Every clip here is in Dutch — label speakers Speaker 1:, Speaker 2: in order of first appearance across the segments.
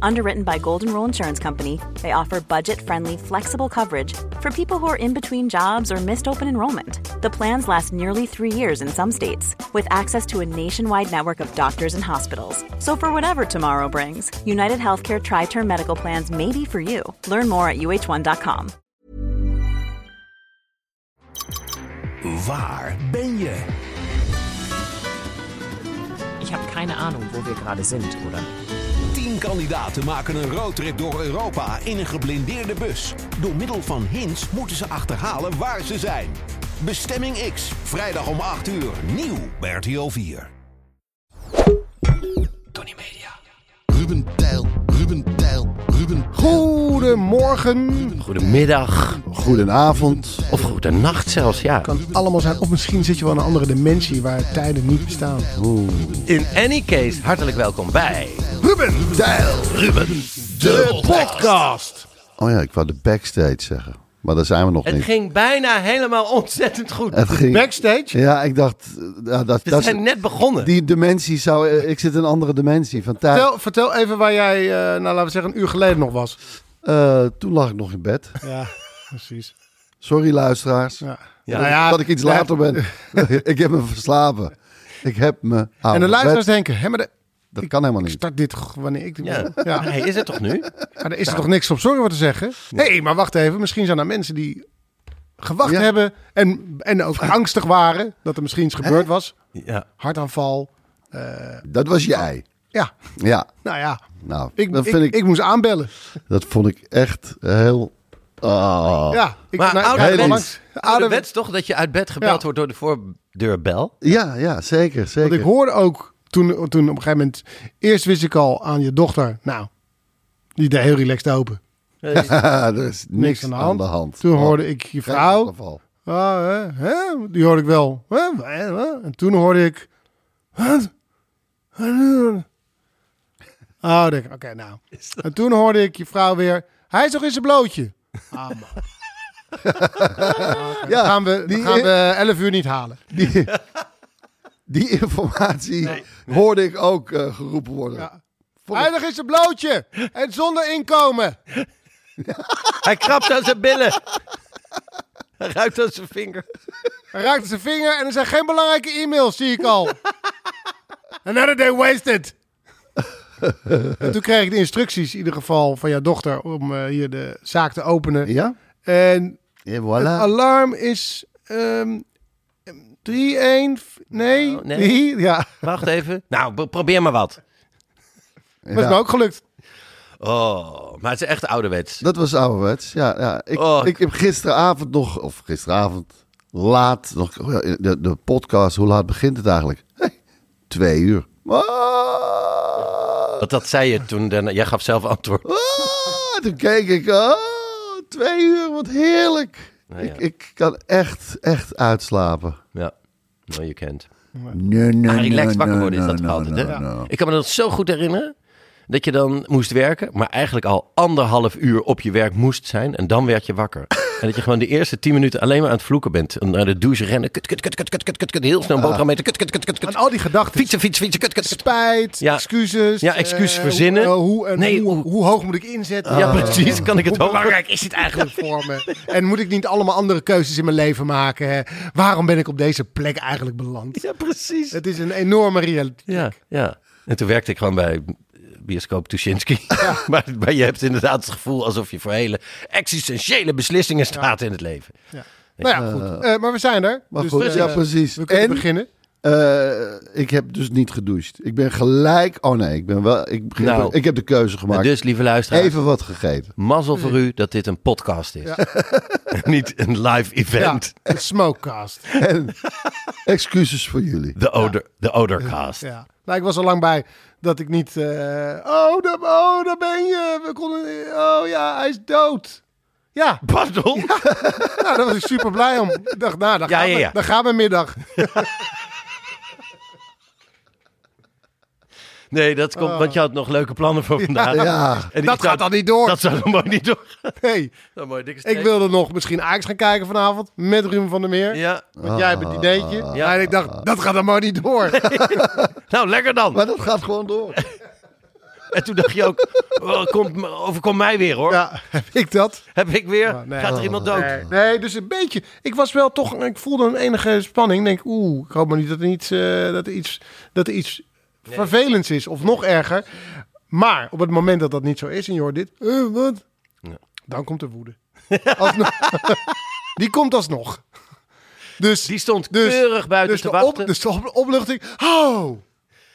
Speaker 1: Underwritten by Golden Rule Insurance Company, they offer budget friendly, flexible coverage for people who are in between jobs or missed open enrollment. The plans last nearly three years in some states, with access to a nationwide network of doctors and hospitals. So, for whatever tomorrow brings, United Healthcare Tri Term Medical Plans may be for you. Learn more at uh1.com.
Speaker 2: Waar ben je?
Speaker 3: Ich habe keine Ahnung, wo wir gerade sind, oder?
Speaker 2: Tien kandidaten maken een roadtrip door Europa in een geblindeerde bus. Door middel van hints moeten ze achterhalen waar ze zijn. Bestemming X, vrijdag om 8 uur, nieuw bij RTL 4. Tony Media.
Speaker 4: Ruben Tijl, Ruben Tijl, Ruben.
Speaker 5: Goedemorgen.
Speaker 6: Goedemiddag.
Speaker 4: Goedenavond.
Speaker 6: Of goedenacht zelfs, ja.
Speaker 5: Kan allemaal zijn. Of misschien zit je wel in een andere dimensie waar tijden niet bestaan.
Speaker 6: In any case, hartelijk welkom bij...
Speaker 4: Ruben Tijl, Ruben.
Speaker 6: De podcast.
Speaker 4: Oh ja, ik wou de backstage zeggen. Maar daar zijn we nog
Speaker 6: Het
Speaker 4: niet.
Speaker 6: ging bijna helemaal ontzettend goed.
Speaker 4: Het ging-
Speaker 5: Backstage?
Speaker 4: Ja, ik dacht... eh, ja, dat,
Speaker 6: We
Speaker 4: dat,
Speaker 6: zijn net begonnen.
Speaker 4: Die dimensie zou... eh, Ik zit in een andere dimensie. Van tijd.
Speaker 5: Vertel, vertel even waar jij, eh, nou laten we zeggen, een uur geleden nog was.
Speaker 4: Eh, toen lag ik nog in bed.
Speaker 5: Ja, precies.
Speaker 4: Sorry luisteraars.
Speaker 5: Ja.
Speaker 4: Dat,
Speaker 5: Nou
Speaker 4: ik-
Speaker 5: ja,
Speaker 4: dat ik iets
Speaker 5: ja.
Speaker 4: later ben. ik heb me verslapen. Ik heb me aan
Speaker 5: En de
Speaker 4: mijn
Speaker 5: luisteraars
Speaker 4: bed-
Speaker 5: denken, hè, maar de,
Speaker 4: Nou, Dat kan helemaal niet.
Speaker 5: start dit g- wanneer ik dit
Speaker 6: Ja.
Speaker 5: wil. Ja.
Speaker 6: Hey, is het toch nu?
Speaker 5: Maar
Speaker 4: Nou.
Speaker 5: daar is er toch niks op zorgen voor te zeggen? Nee, maar wacht even. Misschien zijn er mensen die gewacht
Speaker 4: Ja.
Speaker 5: hebben en, en ook angstig waren dat er misschien iets gebeurd was.
Speaker 6: Ja.
Speaker 5: Hartaanval.
Speaker 4: Dat was jij.
Speaker 5: Ja,
Speaker 4: Ja.
Speaker 5: nou ja.
Speaker 4: Nou,
Speaker 5: Ik,
Speaker 4: dat
Speaker 5: ik,
Speaker 4: vind
Speaker 5: ik... moest aanbellen.
Speaker 4: Dat vond ik echt heel. Ah.
Speaker 5: Ja, ik,
Speaker 6: Maar
Speaker 5: nou, ik
Speaker 4: ouderwets-
Speaker 5: rijd er
Speaker 6: ouderwets,
Speaker 5: langs.
Speaker 6: ouderwets toch dat je uit bed gebeld
Speaker 5: Ja.
Speaker 6: wordt door de voordeurbel?
Speaker 4: ja, ja, zeker. zeker.
Speaker 5: Want ik hoorde ook toen, toen op een gegeven moment... Eerst wist ik al aan je dochter... Nou, die deed heel relaxed open.
Speaker 4: er is niks, aan de hand.
Speaker 5: Toen
Speaker 4: Oh,
Speaker 5: hoorde ik je
Speaker 4: geen
Speaker 5: vrouw.
Speaker 4: geval.
Speaker 5: ah, hè, hè, die hoorde ik wel. Hè, hè, hè. En toen hoorde ik... Wat? Oh, denk ik, oké, nou. En toen hoorde ik je vrouw weer... Hij is toch in zijn blootje? Ah, man. ja,
Speaker 4: Ja,
Speaker 5: dan gaan we,
Speaker 4: die-
Speaker 5: die gaan we 11 uur niet halen.
Speaker 4: Die, die informatie hoorde ik ook eh, geroepen worden.
Speaker 5: Ja. Hij is toch in zijn blootje en zonder inkomen.
Speaker 6: Hij krabt aan zijn billen. Hij ruikt aan zijn vinger.
Speaker 5: Hij raakte zijn vinger en er zijn geen belangrijke e-mails, zie ik al. Another day wasted. en toen kreeg ik de instructies, in ieder geval van jouw dochter, om eh, hier de zaak te openen.
Speaker 4: Ja?
Speaker 5: En
Speaker 4: En
Speaker 6: Ah.
Speaker 5: het
Speaker 4: voilà.
Speaker 5: alarm is ehm 3, 1, nee,
Speaker 6: Oh, nee.
Speaker 5: drie, ja.
Speaker 6: Wacht even. Nou, pro- probeer maar wat.
Speaker 5: Dat is me ook gelukt.
Speaker 6: Oh, maar het is echt ouderwets.
Speaker 4: Dat was ouderwets. Ja, ja. Ik,
Speaker 6: Oh.
Speaker 4: ik heb gisteravond nog, of gisteravond laat, nog, oh ja, de, de podcast, hoe laat begint het eigenlijk? Hey, twee uur. Ah.
Speaker 6: Want dat zei je toen, daarna- jij gaf zelf antwoord.
Speaker 4: Ah, toen keek ik, oh, twee uur, wat heerlijk.
Speaker 6: Nou ja.
Speaker 4: ik, ik kan echt, echt uitslapen.
Speaker 6: Ja, Nou, no you can't.
Speaker 4: Nee, nee,
Speaker 6: Maar Ah, relaxed
Speaker 4: nee,
Speaker 6: wakker
Speaker 4: nee,
Speaker 6: worden is
Speaker 4: nee,
Speaker 6: dat toch
Speaker 4: nee,
Speaker 6: altijd,
Speaker 4: nee,
Speaker 6: hè?
Speaker 4: nee.
Speaker 6: Ik kan me dat zo goed herinneren. Dat je dan moest werken, maar eigenlijk al anderhalf uur op je werk moest zijn. En dan werd je wakker. En dat je gewoon de eerste tien minuten alleen maar aan het vloeken bent. En naar de douche rennen. Kut, kut, kut, kut, kut, kut, kut, kut. Heel snel boterham eten. Kut, kut, kut, kut,
Speaker 5: En
Speaker 6: kut.
Speaker 5: al die gedachten.
Speaker 6: Fietsen, fietsen, fietsen. Kut, kut, kut.
Speaker 5: Spijt,
Speaker 6: Ja.
Speaker 5: excuses.
Speaker 6: Ja, excuus
Speaker 5: eh,
Speaker 6: verzinnen.
Speaker 5: Hoe, eh, hoe, en
Speaker 6: Nee,
Speaker 5: hoe,
Speaker 6: hoe-
Speaker 5: hoe hoog moet ik inzetten? Ah.
Speaker 6: Ja, precies. Kan ik het
Speaker 5: Hoe
Speaker 6: horen?
Speaker 5: belangrijk is dit eigenlijk voor me? En moet ik niet allemaal andere keuzes in mijn leven maken? Hè? Waarom ben ik op deze plek eigenlijk beland?
Speaker 6: Ja, precies.
Speaker 5: Het is een enorme reality.
Speaker 6: Ja, ja. En toen werkte ik gewoon bij eh, bioscoop Tuschinski. maar, maar je hebt inderdaad het gevoel alsof je voor hele existentiële beslissingen staat in het leven.
Speaker 5: Nou ja, goed. Eh, maar we zijn er.
Speaker 4: Maar goed,
Speaker 5: eh,
Speaker 4: ja, precies.
Speaker 5: We kunnen
Speaker 4: En?
Speaker 5: beginnen.
Speaker 4: Eh, ik heb dus niet gedoucht. Ik ben gelijk. Oh nee, ik ben wel. Ik, ik,
Speaker 6: Nou.
Speaker 4: ik heb de keuze
Speaker 6: En
Speaker 4: gemaakt.
Speaker 6: dus, lieve luisteraars.
Speaker 4: Even wat gegeten.
Speaker 6: Mazzel voor u dat dit een podcast is. Niet een live
Speaker 5: Ja,
Speaker 6: event.
Speaker 5: de smokecast.
Speaker 4: En excuses voor jullie.
Speaker 6: De, odor, de Odercast.
Speaker 5: Ja. Nou, ik was al lang bij dat ik niet... eh, oh, daar, oh, daar ben je. We konden, oh ja, hij is dood. Ja,
Speaker 6: Pardon?
Speaker 5: nou, daar was ik super blij om. Ik dacht, nou, daar
Speaker 6: Ja,
Speaker 5: gaat,
Speaker 6: ja,
Speaker 5: mijn-
Speaker 6: ja.
Speaker 5: daar gaat mijn middag.
Speaker 6: Nee, dat komt, want je had nog leuke plannen voor vandaag.
Speaker 4: ja.
Speaker 6: En die
Speaker 5: Oh. Dat
Speaker 6: zou-
Speaker 5: gaat dan niet door.
Speaker 6: Dat zou dan mooi niet door.
Speaker 5: Nee.
Speaker 6: Dan mooi dikke
Speaker 5: Ik
Speaker 6: streep.
Speaker 5: wilde nog misschien Ajax gaan kijken vanavond met Ruben van der Meer.
Speaker 6: Ja.
Speaker 5: Want jij hebt het ideetje.
Speaker 6: Ja.
Speaker 5: En ik dacht, dat gaat dan maar niet door.
Speaker 6: Nou, lekker dan.
Speaker 4: Maar dat gaat gewoon door.
Speaker 6: En toen dacht je ook, oh, komt me- overkomt mij weer hoor.
Speaker 5: Ja, heb ik dat?
Speaker 6: Heb ik weer?
Speaker 5: Ah, nee.
Speaker 6: Gaat er iemand dood?
Speaker 5: Nee, nee, dus een beetje. Ik was wel toch, ik voelde een enige spanning. Ik denk, oeh, ik hoop maar niet dat er iets, eh, dat er iets, dat er iets vervelends is. Of nog erger. Maar op het moment dat dat niet zo is en je hoort dit, eh, wat? Dan komt de woede. Alsnog. Die komt alsnog. Dus,
Speaker 6: Die stond
Speaker 5: dus,
Speaker 6: keurig buiten
Speaker 5: dus
Speaker 6: te
Speaker 5: de op-
Speaker 6: wachten.
Speaker 5: dus de op- opluchting, oh.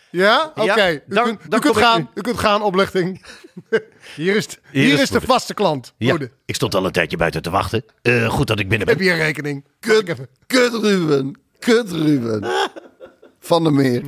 Speaker 5: Ja, oké.
Speaker 6: Ja,
Speaker 5: u,
Speaker 6: dan-
Speaker 5: kunt, u
Speaker 6: dan
Speaker 5: kunt
Speaker 6: kom ik
Speaker 5: gaan,
Speaker 6: nu.
Speaker 5: u kunt gaan, opluchting. Hier is, t- hier
Speaker 6: is
Speaker 5: is,
Speaker 6: het
Speaker 5: de
Speaker 6: voor de-
Speaker 5: vaste klant.
Speaker 6: Ja,
Speaker 5: Woede.
Speaker 6: ik stond al een tijdje buiten te wachten. Eh, goed dat ik binnen
Speaker 5: Heb
Speaker 6: ben.
Speaker 5: je een rekening? Kijk even.
Speaker 4: Kut Ruben. Kut Ruben. Van der Meer.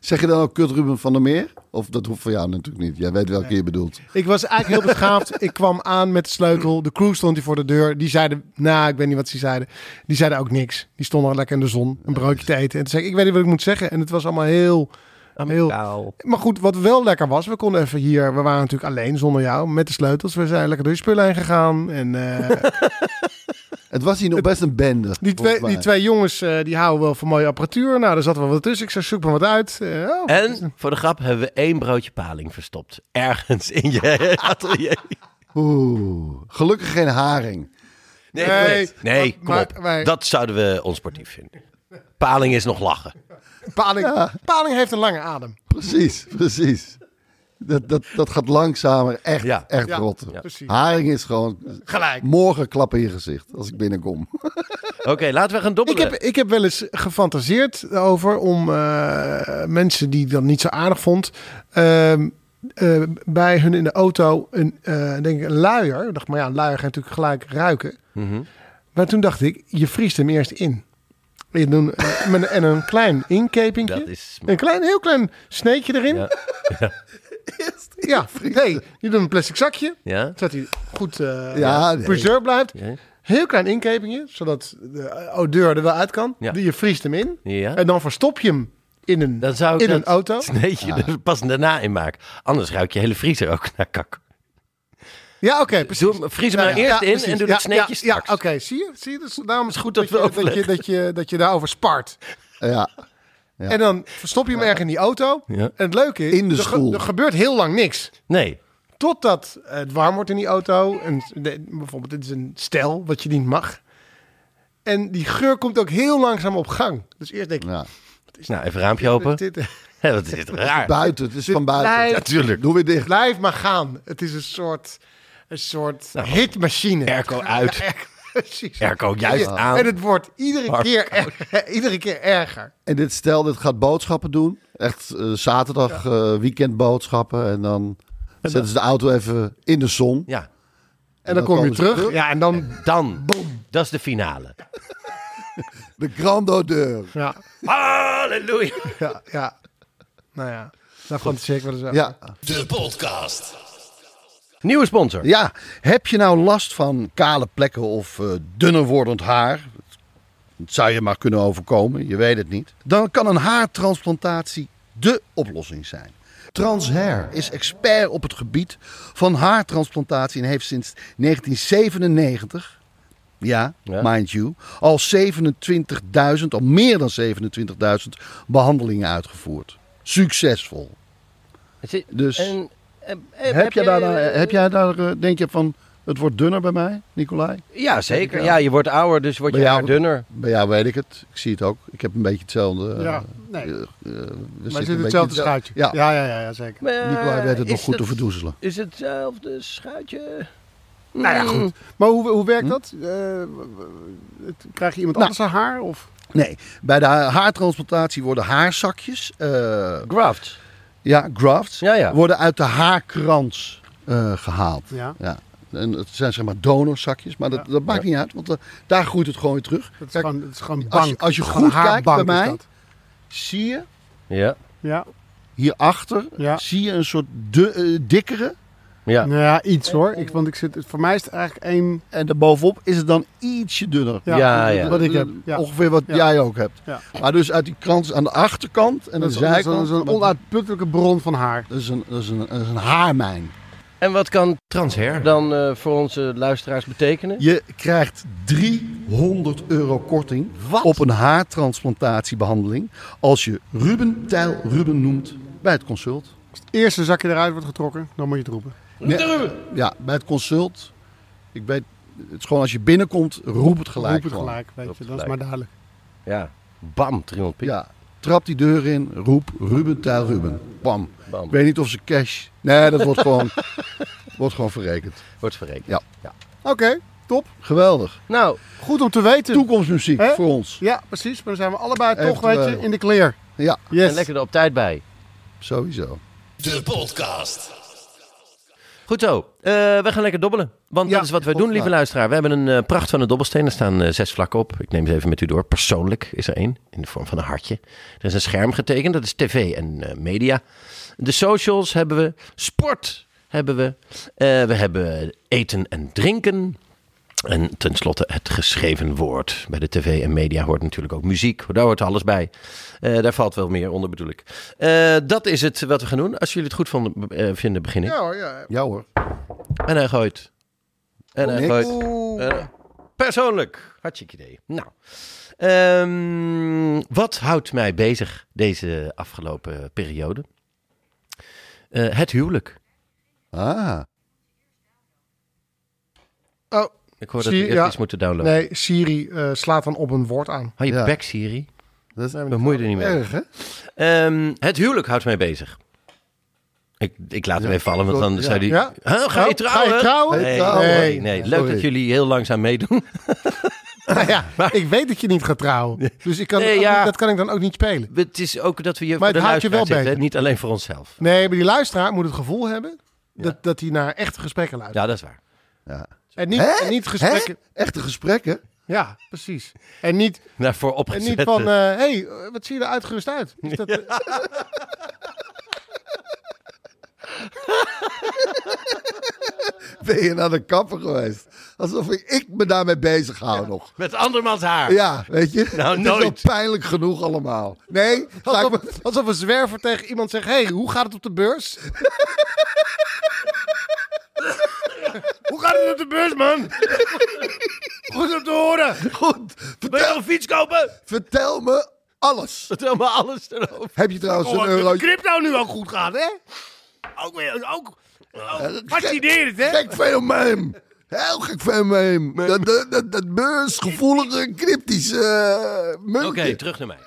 Speaker 4: Zeg je dan ook kut Ruben van der Meer? Of dat hoeft voor jou natuurlijk niet. Jij weet welke je bedoelt.
Speaker 5: Ik was eigenlijk heel beschaafd. Ik kwam aan met de sleutel. De crew stond hier voor de deur. Die zeiden, nou, ik weet niet wat ze zeiden. Die zeiden ook niks. Die stonden al lekker in de zon een broodje te eten. En toen zei ik, ik weet niet wat ik moet zeggen. En het was allemaal heel... heel...
Speaker 6: Amicaal.
Speaker 5: Maar goed, wat wel lekker was, we konden even hier... We waren natuurlijk alleen zonder jou, met de sleutels. We zijn lekker door je spullen heen gegaan. En eh,
Speaker 4: Het was hier nog best een bende.
Speaker 5: die, twee,
Speaker 4: volgens mij.
Speaker 5: die twee jongens, eh, die houden wel van mooie apparatuur. Nou, daar zat wel wat tussen. Ik zei, zoek maar wat uit. Eh, oh,
Speaker 6: En voor de grap hebben we één broodje paling verstopt. Ergens in je atelier.
Speaker 4: Oeh, gelukkig geen haring.
Speaker 6: Nee,
Speaker 5: Nee,
Speaker 6: nee
Speaker 5: maar-
Speaker 6: kom
Speaker 5: maar-
Speaker 6: op.
Speaker 5: maar-
Speaker 6: Dat zouden we onsportief vinden. Paling is nog lachen.
Speaker 5: Paling, Paling heeft een lange adem.
Speaker 4: Precies, precies. Dat, dat, dat gaat langzamer echt,
Speaker 6: Ja.
Speaker 4: echt
Speaker 5: Ja,
Speaker 4: rotten.
Speaker 5: precies.
Speaker 4: Haring is gewoon...
Speaker 5: Gelijk.
Speaker 4: Morgen klappen in je gezicht als ik binnenkom.
Speaker 6: Oké, laten we gaan
Speaker 5: Ik
Speaker 6: dobbelen.
Speaker 5: heb, ik heb wel eens gefantaseerd over om eh, mensen die ik dan niet zo aardig vond. ehm, eh, bij hun in de auto een, eh, denk ik een luier. Ik dacht, maar ja, een luier gaat natuurlijk gelijk ruiken.
Speaker 6: Mhm.
Speaker 5: Maar toen dacht ik, je vriest hem eerst in. En, dan, eh, met- en een klein inkepingje.
Speaker 6: Dat is-
Speaker 5: Een klein, heel klein sneetje erin. Ja,
Speaker 6: Ja.
Speaker 5: nee, je doet een plastic zakje.
Speaker 6: Ja?
Speaker 5: Zodat hij goed eh
Speaker 4: Ja, nee.
Speaker 5: preserved blijft.
Speaker 6: Ja.
Speaker 5: Heel klein inkepingje, zodat de odeur er wel uit kan.
Speaker 6: Ja.
Speaker 5: Je vriest hem in.
Speaker 6: Ja.
Speaker 5: En dan verstop je hem in een,
Speaker 6: Dan zou ik
Speaker 5: in
Speaker 6: dat
Speaker 5: een auto.
Speaker 6: sneetje er pas daarna in maken. Anders ruikt je hele vriezer ook naar kak.
Speaker 5: Ja, oké, precies.
Speaker 6: Doe hem- vries hem maar eerst in en doe
Speaker 5: dat
Speaker 6: het sneetje
Speaker 5: Ja, ja
Speaker 6: straks.
Speaker 5: oké, zie je? Zie je? Dus daarom is het goed dat,
Speaker 6: dat we
Speaker 5: je, dat, je, dat, je, dat je daarover spart.
Speaker 4: Ja,
Speaker 5: En dan verstop je hem erg in die auto.
Speaker 6: Ja.
Speaker 5: En het leuke is,
Speaker 4: In de
Speaker 5: er,
Speaker 4: school.
Speaker 5: er gebeurt heel lang niks.
Speaker 6: Nee.
Speaker 5: Totdat het warm wordt in die auto. En de- bijvoorbeeld, dit is een stijl wat je niet mag. En die geur komt ook heel langzaam op gang. Dus eerst denk je,
Speaker 4: ja.
Speaker 6: Nou, even raampje open.
Speaker 5: dit, dit-
Speaker 6: Hè, Wat is dit raar.
Speaker 4: Buiten, het is van buiten.
Speaker 5: blijft- Ja,
Speaker 6: tuurlijk.
Speaker 4: Doe weer dicht.
Speaker 5: blijf maar gaan. Het is een soort, een soort hitmachine.
Speaker 6: Nou, Airco uit.
Speaker 5: Precies.
Speaker 6: Airco juist
Speaker 5: En je-
Speaker 6: aan.
Speaker 5: En het wordt iedere
Speaker 6: Hard
Speaker 5: keer, erger, iedere keer erger.
Speaker 4: En dit stel, dit gaat boodschappen doen. Echt eh, zaterdag, eh, weekend boodschappen. En dan zetten ze de auto even in de zon.
Speaker 6: Ja,
Speaker 5: En dan kom je terug. Ja, en dan...
Speaker 6: dan. Dat is de finale.
Speaker 4: De grand odeur.
Speaker 5: Ja,
Speaker 6: Halleluja.
Speaker 5: ja, ja. Nou ja, daar fantaseer ik wel eens over.
Speaker 4: Ja.
Speaker 6: Nieuwe sponsor.
Speaker 4: ja, heb je nou last van kale plekken of eh, dunner wordend haar? Het zou je maar kunnen overkomen, je weet het niet. Dan kan een haartransplantatie dé oplossing zijn. Transhair is expert op het gebied van haartransplantatie en heeft sinds 1997 Ja,
Speaker 6: Ja.
Speaker 4: mind you. Al 27.000, al meer dan 27.000 behandelingen uitgevoerd. Succesvol. Dus-
Speaker 6: En, eh, eh,
Speaker 4: Heb jij,
Speaker 6: je-
Speaker 4: daar, nou- heb jij daar, eh, denk je van, het wordt dunner bij mij, Nicolai?
Speaker 6: Ja, zeker. Ja, je wordt ouder, dus word je
Speaker 4: Bij jou-
Speaker 6: haar dunner.
Speaker 4: Bij jou weet ik het. Ik zie het ook. Ik heb een beetje hetzelfde. eh,
Speaker 5: Ja,
Speaker 4: eh,
Speaker 5: nee.
Speaker 4: eh, we zitten
Speaker 5: Maar
Speaker 4: een
Speaker 5: het is
Speaker 4: beetje
Speaker 5: hetzelfde
Speaker 4: zel-
Speaker 5: schuitje.
Speaker 4: Ja,
Speaker 5: ja, ja, ja, ja, zeker.
Speaker 4: Nicolai weet het nog
Speaker 6: Eh, Is
Speaker 4: goed te
Speaker 6: dat-
Speaker 4: verdoezelen.
Speaker 6: Is hetzelfde schuitje?
Speaker 5: Nou ja, goed. Maar hoe, hoe werkt dat? Eh, het- krijg je iemand
Speaker 4: Hm? Nou.
Speaker 5: anders aan haar? Of?
Speaker 4: Nee, bij de ha- haartransplantatie worden haarzakjes, eh,
Speaker 6: Graft.
Speaker 4: ja, grafts,
Speaker 6: Ja, ja.
Speaker 4: worden uit de haarkrans eh, gehaald.
Speaker 5: Ja.
Speaker 4: Ja. En het zijn zeg maar donorzakjes, maar dat, dat maakt niet uit, want eh, daar groeit het gewoon weer terug.
Speaker 5: Dat is
Speaker 4: Kijk,
Speaker 5: gewoon, dat is gewoon
Speaker 4: als je-
Speaker 5: bank.
Speaker 4: als je
Speaker 5: Gewoon
Speaker 4: goed
Speaker 5: haar
Speaker 4: kijkt bij
Speaker 5: bank is
Speaker 4: mij-
Speaker 5: dat.
Speaker 4: Zie je
Speaker 6: Ja.
Speaker 5: Ja.
Speaker 4: hierachter,
Speaker 5: Ja.
Speaker 4: zie je een soort de, eh, dikkere,
Speaker 6: Ja.
Speaker 5: Nou ja, iets hoor.
Speaker 4: Eh,
Speaker 5: Ik, want ik zit, voor mij is het eigenlijk één...
Speaker 4: En daarbovenop is het dan ietsje dunner.
Speaker 5: Ja,
Speaker 6: Ja, ja.
Speaker 5: Wat ik heb.
Speaker 4: Eh,
Speaker 5: Ja.
Speaker 4: Ongeveer wat
Speaker 5: Ja.
Speaker 4: jij ook hebt.
Speaker 5: Ja.
Speaker 4: Maar dus uit die krans aan de achterkant en
Speaker 5: Dat
Speaker 4: de
Speaker 5: is,
Speaker 4: zijkant.
Speaker 5: dat is een
Speaker 4: maar-
Speaker 5: onuitputtelijke bron van haar.
Speaker 4: dat is een, dat is een, dat is een haarmijn.
Speaker 6: En wat kan transher dan eh, voor onze luisteraars betekenen?
Speaker 4: Je krijgt 300 euro korting op een haartransplantatiebehandeling als je Ruben Tijl Ruben noemt bij het consult.
Speaker 5: Eerste zakje eruit wordt getrokken, dan moet je het roepen.
Speaker 4: Ja, bij het consult. Ik weet, het is gewoon als je binnenkomt, roep het gelijk.
Speaker 5: Roep het
Speaker 4: gewoon.
Speaker 5: gelijk, weet
Speaker 6: Roep
Speaker 5: je.
Speaker 6: het
Speaker 5: Dat is
Speaker 6: gelijk.
Speaker 5: maar duidelijk.
Speaker 6: Ja, bam, 300 piek.
Speaker 4: Ja, trap die deur in, roep Ruben Tijl Ruben. Bam.
Speaker 6: Bam.
Speaker 4: Ik weet niet of ze cash. Nee, dat wordt gewoon, wordt gewoon verrekend.
Speaker 6: Wordt verrekend.
Speaker 4: Ja.
Speaker 5: Oké, top.
Speaker 4: Geweldig.
Speaker 6: Nou,
Speaker 5: Goed om te weten.
Speaker 4: Toekomstmuziek
Speaker 5: Hè?
Speaker 4: voor ons.
Speaker 5: Ja, precies. Maar dan zijn we allebei
Speaker 4: Echt
Speaker 5: toch, weet je,
Speaker 4: wel.
Speaker 5: in de clear.
Speaker 4: Ja,
Speaker 5: Yes.
Speaker 6: en lekker er op tijd bij.
Speaker 4: sowieso.
Speaker 6: Goed zo. Eh we gaan lekker dobbelen. Want
Speaker 4: Ja,
Speaker 6: dat is wat wij doen, lieve
Speaker 4: volgens mij.
Speaker 6: luisteraar. We hebben een eh, pracht van een dobbelsteen. Er staan eh, zes vlakken op. Ik neem ze even met u door. Persoonlijk is er één. In de vorm van een hartje. Er is een scherm getekend. Dat is tv en eh, media. De socials hebben we. Sport hebben we. Eh, we hebben eten en drinken. En tenslotte het geschreven woord. Bij de tv en media hoort natuurlijk ook muziek. Daar hoort alles bij. Eh, daar valt wel meer onder, bedoel ik. Eh, dat is het wat we gaan doen. Als jullie het goed vonden, eh, vinden, begin ik.
Speaker 5: Ja hoor, ja.
Speaker 4: Ja hoor.
Speaker 6: En hij gooit. En hij
Speaker 4: niks.
Speaker 6: gooit. En- persoonlijk. Hartstikke idee. Nou. Ehm, wat houdt mij bezig deze afgelopen periode? Eh, het huwelijk.
Speaker 4: Ah,
Speaker 5: Oh,
Speaker 6: Ik hoor dat we
Speaker 5: Zie je,
Speaker 6: eerst
Speaker 5: ja.
Speaker 6: iets moeten downloaden.
Speaker 5: nee, Siri eh, slaat dan op een woord aan.
Speaker 6: Hou je
Speaker 4: Ja.
Speaker 6: bek, Siri.
Speaker 4: dat is eigenlijk
Speaker 6: Bemoei je er niet mee.
Speaker 4: erg, hè?
Speaker 6: Ehm, het huwelijk houdt mij bezig. Ik, ik laat hem even vallen, want dan
Speaker 4: Ja.
Speaker 6: zei hij...
Speaker 5: Ja?
Speaker 6: "Huh, ga
Speaker 5: Oh,
Speaker 6: je trouwen?
Speaker 5: Ga je trouwen?
Speaker 6: Nee,
Speaker 4: trouwen?
Speaker 6: nee, nee. leuk
Speaker 4: Sorry.
Speaker 6: dat jullie heel langzaam meedoen.
Speaker 5: Nou ja, ik weet dat je niet gaat trouwen. Dus ik kan,
Speaker 6: Nee, ja.
Speaker 5: dat kan ik dan ook niet spelen.
Speaker 6: Het is ook dat we je
Speaker 5: Maar
Speaker 6: voor de
Speaker 5: het houdt
Speaker 6: luisteraar
Speaker 5: je wel
Speaker 6: zitten, hè,
Speaker 5: bezig.
Speaker 6: niet alleen voor onszelf.
Speaker 5: Nee, maar die luisteraar moet het gevoel hebben dat, dat hij naar echte gesprekken luistert.
Speaker 6: Ja, dat is waar.
Speaker 5: En, niet, en niet gesprekken...
Speaker 4: Hè? Echte gesprekken?
Speaker 5: Ja, precies. En niet,
Speaker 6: Nou, voor
Speaker 5: en
Speaker 6: opgezet.
Speaker 5: niet van, hé, hey, eh, wat zie je er uitgerust uit? Is dat, eh,
Speaker 4: Ben je naar de kapper geweest? Alsof ik, ik me daarmee bezig hou nog.
Speaker 6: Met andermans haar.
Speaker 4: Ja, weet je?
Speaker 6: Nou,
Speaker 4: het
Speaker 6: nooit.
Speaker 4: is al pijnlijk genoeg allemaal. Nee, ga ik me-
Speaker 5: alsof, alsof een zwerver tegen iemand zegt, hé, hey, hoe gaat het op de beurs? hoe gaat het op de beurs, man? Goed om te horen.
Speaker 4: goed.
Speaker 6: Wil je
Speaker 4: Vertel,
Speaker 6: een fiets kopen?
Speaker 4: vertel me alles.
Speaker 6: Vertel me alles erover.
Speaker 4: Heb je trouwens Oh, een eurotje?
Speaker 5: Oh, crypto nu ook goed gaat, hè? Ook weer, ook... Fascinerend, hè?
Speaker 4: Gek fenomeen. Heel gek fenomeen. Dat, dat, dat, dat beursgevoelige, cryptische eh, muntje.
Speaker 6: Oké, terug naar mij.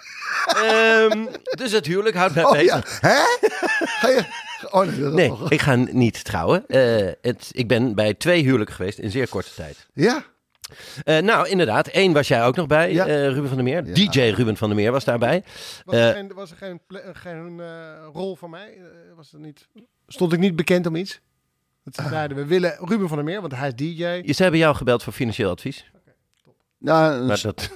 Speaker 6: Ehm, dus het huwelijk houdt mij
Speaker 4: Oh
Speaker 6: bezig.
Speaker 4: ja, hè? Ga je... Oh nee, dat
Speaker 6: Nee,
Speaker 4: nog.
Speaker 6: ik ga niet trouwen. Eh, het, ik ben bij twee huwelijken geweest in zeer korte tijd.
Speaker 4: Ja,
Speaker 6: Eh, nou, inderdaad. Eén was jij ook nog bij,
Speaker 4: Ja.
Speaker 6: eh, Ruben van der Meer. DJ Ruben van der Meer was daarbij.
Speaker 5: Was er
Speaker 6: Eh,
Speaker 5: geen, was er geen, ple- eh, geen eh, rol van mij? Eh, was er niet, stond ik niet bekend om iets? Dat
Speaker 6: Ah.
Speaker 5: ze zeiden, we willen Ruben van der Meer, want hij is DJ.
Speaker 6: Ze hebben jou gebeld voor financieel advies.
Speaker 4: nou, een,
Speaker 6: Maar
Speaker 4: st-
Speaker 6: dat,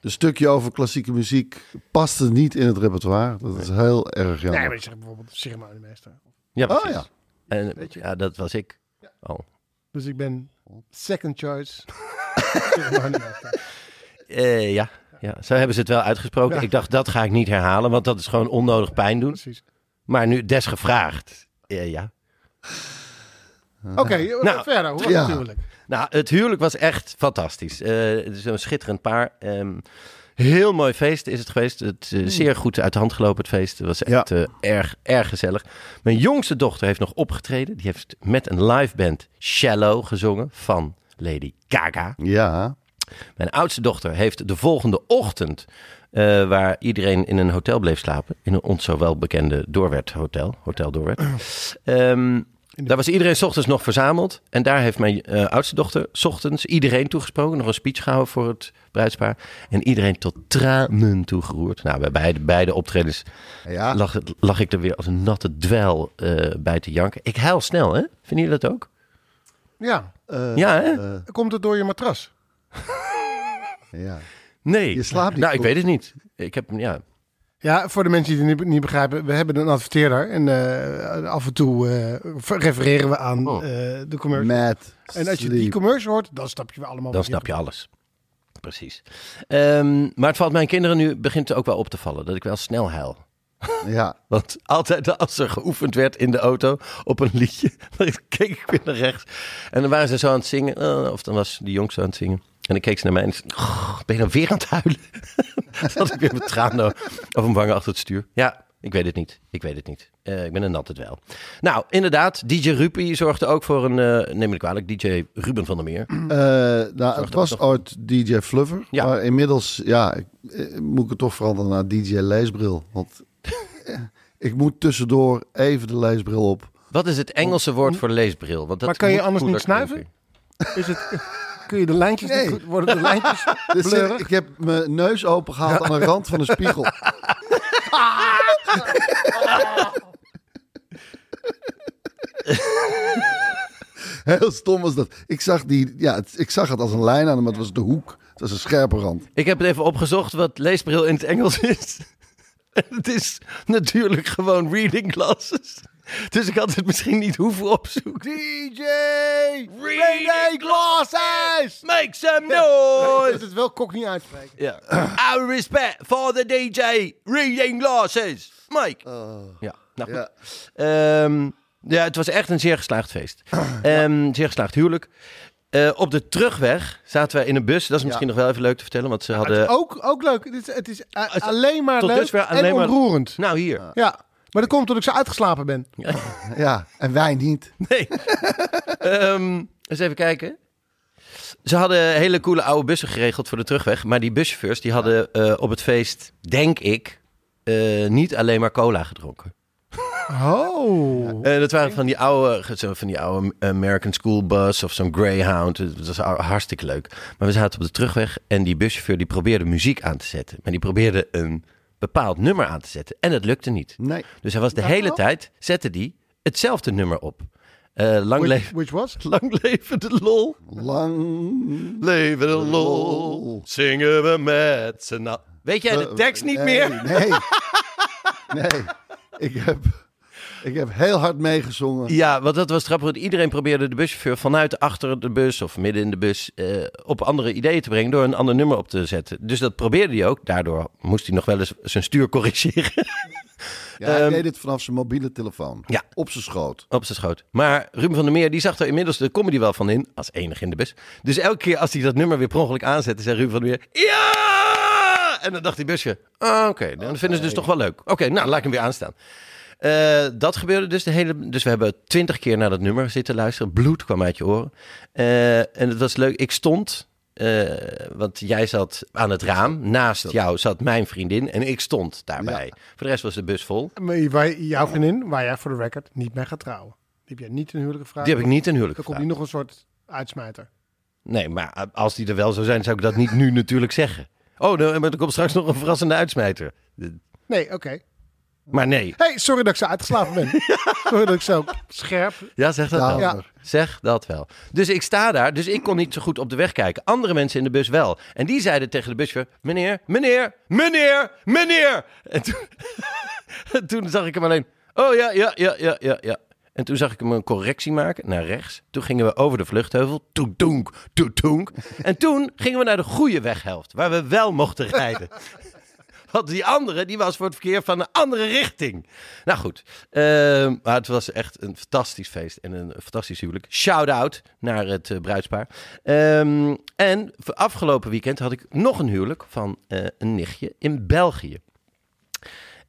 Speaker 4: een stukje over klassieke muziek paste niet in het repertoire. Dat is heel erg jammer.
Speaker 5: Nee, maar je zegt bijvoorbeeld ceremoniemeester.
Speaker 6: ja,
Speaker 4: Oh,
Speaker 6: precies.
Speaker 4: ja.
Speaker 6: En, ja, dat was ik. al.
Speaker 5: Dus ik ben second choice. ceremoniemeester.
Speaker 6: Eh, ja. ja, zo hebben ze het wel uitgesproken.
Speaker 5: Ja.
Speaker 6: Ik dacht, dat ga ik niet herhalen, want dat is gewoon onnodig pijn doen.
Speaker 5: Precies.
Speaker 6: Maar nu desgevraagd. Eh, ja.
Speaker 5: Oké, eh,
Speaker 6: Nou,
Speaker 5: verder. Hoe was
Speaker 4: ja.
Speaker 5: het huwelijk?
Speaker 6: Nou, het huwelijk was echt fantastisch. Eh, het is een schitterend paar. Ehm, heel mooi feest is het geweest. Het
Speaker 4: Hmm.
Speaker 6: eh, zeer goed uit de hand gelopen, het feest. Het was echt eh, erg, erg gezellig. Mijn jongste dochter heeft nog opgetreden. Die heeft met een live band Shallow gezongen van Lady Gaga.
Speaker 4: Ja,
Speaker 6: Mijn oudste dochter heeft de volgende ochtend, eh, waar iedereen in een hotel bleef slapen, in een ons zo welbekende Doorwerd Hotel, Hotel Doorwerd. Ehm, daar was iedereen 's ochtends nog verzameld. En daar heeft mijn eh, oudste dochter 's ochtends iedereen toegesproken. Nog een speech gehouden voor het bruidspaar. En iedereen tot tranen toegeroerd. Nou, bij beide, beide optredens
Speaker 4: ja.
Speaker 6: lag, het- lag ik er weer als een natte dweil eh, bij te janken. Ik huil snel, hè? Vinden jullie dat ook?
Speaker 5: Ja,
Speaker 4: Eh,
Speaker 6: ja, hè?
Speaker 5: komt het door je matras?
Speaker 4: ja.
Speaker 6: Nee.
Speaker 4: Je slaapt niet
Speaker 6: Nou, ik
Speaker 4: goed.
Speaker 6: weet het niet. Ik heb, ja.
Speaker 5: Ja, voor de mensen die het niet, niet begrijpen, we hebben een adverteerder. En eh, af en toe eh, refereren we aan
Speaker 6: Oh.
Speaker 5: eh, de commercial.
Speaker 7: Met
Speaker 5: en als je die
Speaker 7: sleep.
Speaker 5: commercial hoort, dan snap je weer allemaal
Speaker 6: Dan
Speaker 5: wat
Speaker 6: snap je alles. Precies. Ehm, maar het valt mijn kinderen nu, begint het ook wel op te vallen, dat ik wel snel huil.
Speaker 7: Ja,
Speaker 6: Want altijd als er geoefend werd in de auto op een liedje, dan keek ik weer naar rechts. En dan waren ze zo aan het zingen, eh, of dan was de jongste aan het zingen. En dan keek ze naar mij en ze, "Goh, ben je nou weer aan het huilen? dan zat ik weer met tranen of een wangen achter het stuur. Ja, ik weet het niet. Ik weet het niet. Eh, ik ben er altijd wel. Nou, inderdaad, DJ Rupi zorgde ook voor een, eh, neem me niet kwalijk, DJ Ruben van der Meer.
Speaker 7: Eh, nou, het was
Speaker 6: nog-
Speaker 7: ooit DJ Fluffer.
Speaker 6: Ja.
Speaker 7: Maar inmiddels ja, ik, eh, moet ik het toch veranderen naar DJ Leesbril. Want eh, ik moet tussendoor even de leesbril op.
Speaker 6: Wat is het Engelse woord voor leesbril? Want dat
Speaker 5: Maar kan je
Speaker 6: moet
Speaker 5: anders niet
Speaker 6: cooler
Speaker 5: snuiven?
Speaker 6: klinken.
Speaker 5: Is het, kun je de lijntjes
Speaker 7: Nee.
Speaker 5: niet goed, worden de lijntjes
Speaker 7: Dus, eh,
Speaker 5: blurrig?
Speaker 7: ik heb mijn neus open gehaald aan de rand van een spiegel. Heel stom was dat. Ik zag, die, ja, het- ik zag het als een lijn aan, maar het was de hoek. Het was een scherpe rand.
Speaker 6: Ik heb het even opgezocht wat leesbril in het Engels is. En het is natuurlijk gewoon reading glasses. Dus ik had het misschien niet hoeven opzoeken.
Speaker 5: DJ
Speaker 6: René
Speaker 5: Glasses!
Speaker 6: Make some
Speaker 5: Dat
Speaker 6: noise!
Speaker 5: het wel kok niet uitspreken.
Speaker 6: Ja. Our respect for the DJ reading glasses. Mike. Ja, nou goed.
Speaker 7: Ja.
Speaker 6: Ehm, ja, het was echt een zeer geslaagd feest. Ehm, Zeer geslaagd huwelijk. Eh, op de terugweg zaten wij in een bus. Dat is misschien nog wel even leuk te vertellen, want ze hadden...
Speaker 5: Ook, ook leuk. Het is, het is eh,
Speaker 6: is
Speaker 5: alleen maar
Speaker 6: tot
Speaker 5: leuk
Speaker 6: dusver alleen
Speaker 5: en
Speaker 6: maar-
Speaker 5: ontroerend.
Speaker 6: Nou, hier.
Speaker 5: Ja, maar dat komt omdat ik zo uitgeslapen ben.
Speaker 7: Ja, en wij niet.
Speaker 6: Nee. Ehm, eens even kijken. Ze hadden hele coole oude bussen geregeld voor de terugweg. Maar die buschauffeurs die hadden eh, op het feest, denk ik, eh, niet alleen maar cola gedronken.
Speaker 5: Oh.
Speaker 6: Eh, dat waren van die oude, zo van die oude eh, American School Bus of zo'n Greyhound. Eh, Dat was a- hartstikke leuk. Maar we zaten op de terugweg en die buschauffeur die probeerde muziek aan te zetten. Maar die probeerde een bepaald nummer aan te zetten. En dat lukte niet.
Speaker 7: Nee.
Speaker 6: Dus hij was de hele tijd, zette die hetzelfde nummer op. Eh, lang
Speaker 5: Which,
Speaker 6: leven.
Speaker 5: which was?
Speaker 6: Lang leven de lol.
Speaker 7: Lang.
Speaker 6: Leven de lol. Zingen we met z'n allen. Weet jij de tekst niet
Speaker 7: Nee,
Speaker 6: meer?
Speaker 7: Nee. Nee. Ik heb, ik heb heel hard meegezongen.
Speaker 6: Ja, want dat was grappig. want Iedereen probeerde de buschauffeur vanuit achter de bus of midden in de bus eh, op andere ideeën te brengen door een ander nummer op te zetten. Dus dat probeerde hij ook. Daardoor moest hij nog wel eens zijn stuur corrigeren
Speaker 7: Ja, hij deed dit vanaf zijn mobiele telefoon.
Speaker 6: Ja.
Speaker 7: Op zijn schoot.
Speaker 6: op zijn schoot. Maar Ruben van der Meer die zag er inmiddels de comedy wel van in, als enige in de bus. Dus elke keer als hij dat nummer weer per ongeluk aanzette, zei Ruben van der Meer, ja! En dan dacht die busje, ah, oké, dan vinden ze dus toch wel leuk. Oké, nou, laat ik hem weer aanstaan. Eh, dat gebeurde dus de hele. Dus we hebben twintig keer naar dat nummer zitten luisteren. Bloed kwam uit je oren. Eh, en het was leuk. Ik stond. eh, want jij zat aan het raam. Naast jou zat mijn vriendin. En ik stond daarbij. Voor de rest was de bus vol.
Speaker 5: Maar waar- jouw vriendin, waar jij voor de record niet mee gaat trouwen. Die heb jij niet een huwelijk gevraagd.
Speaker 6: Die heb ik niet een huwelijk
Speaker 5: Dan komt
Speaker 6: gevraagd.
Speaker 5: niet nog een soort uitsmijter.
Speaker 6: Nee, maar als die er wel zou zijn, zou ik dat niet nu natuurlijk zeggen. Oh, nou, maar er komt straks nog een verrassende uitsmijter.
Speaker 5: Nee, oké.
Speaker 6: Maar nee.
Speaker 5: Hey, sorry dat ik zo uitgeslapen ben. sorry dat ik zo scherp...
Speaker 6: Ja, zeg dat wel.
Speaker 5: Ja.
Speaker 6: Zeg dat wel. Dus ik sta daar, dus ik kon niet zo goed op de weg kijken. Andere mensen in de bus wel. En die zeiden tegen de buschauffeur: meneer, meneer, meneer, meneer. En toen, en toen zag ik hem alleen: oh ja, ja, ja, ja, ja, ja. En toen zag ik hem een correctie maken naar rechts. Toen gingen we over de vluchtheuvel. Toetonk, toetonk. En toen gingen we naar de goede weghelft, waar we wel mochten rijden. Want die andere, die was voor het verkeer van een andere richting. Nou goed, ehm, maar het was echt een fantastisch feest en een fantastisch huwelijk. Shout-out naar het eh, bruidspaar. Ehm, en voor afgelopen weekend had ik nog een huwelijk van eh, een nichtje in België.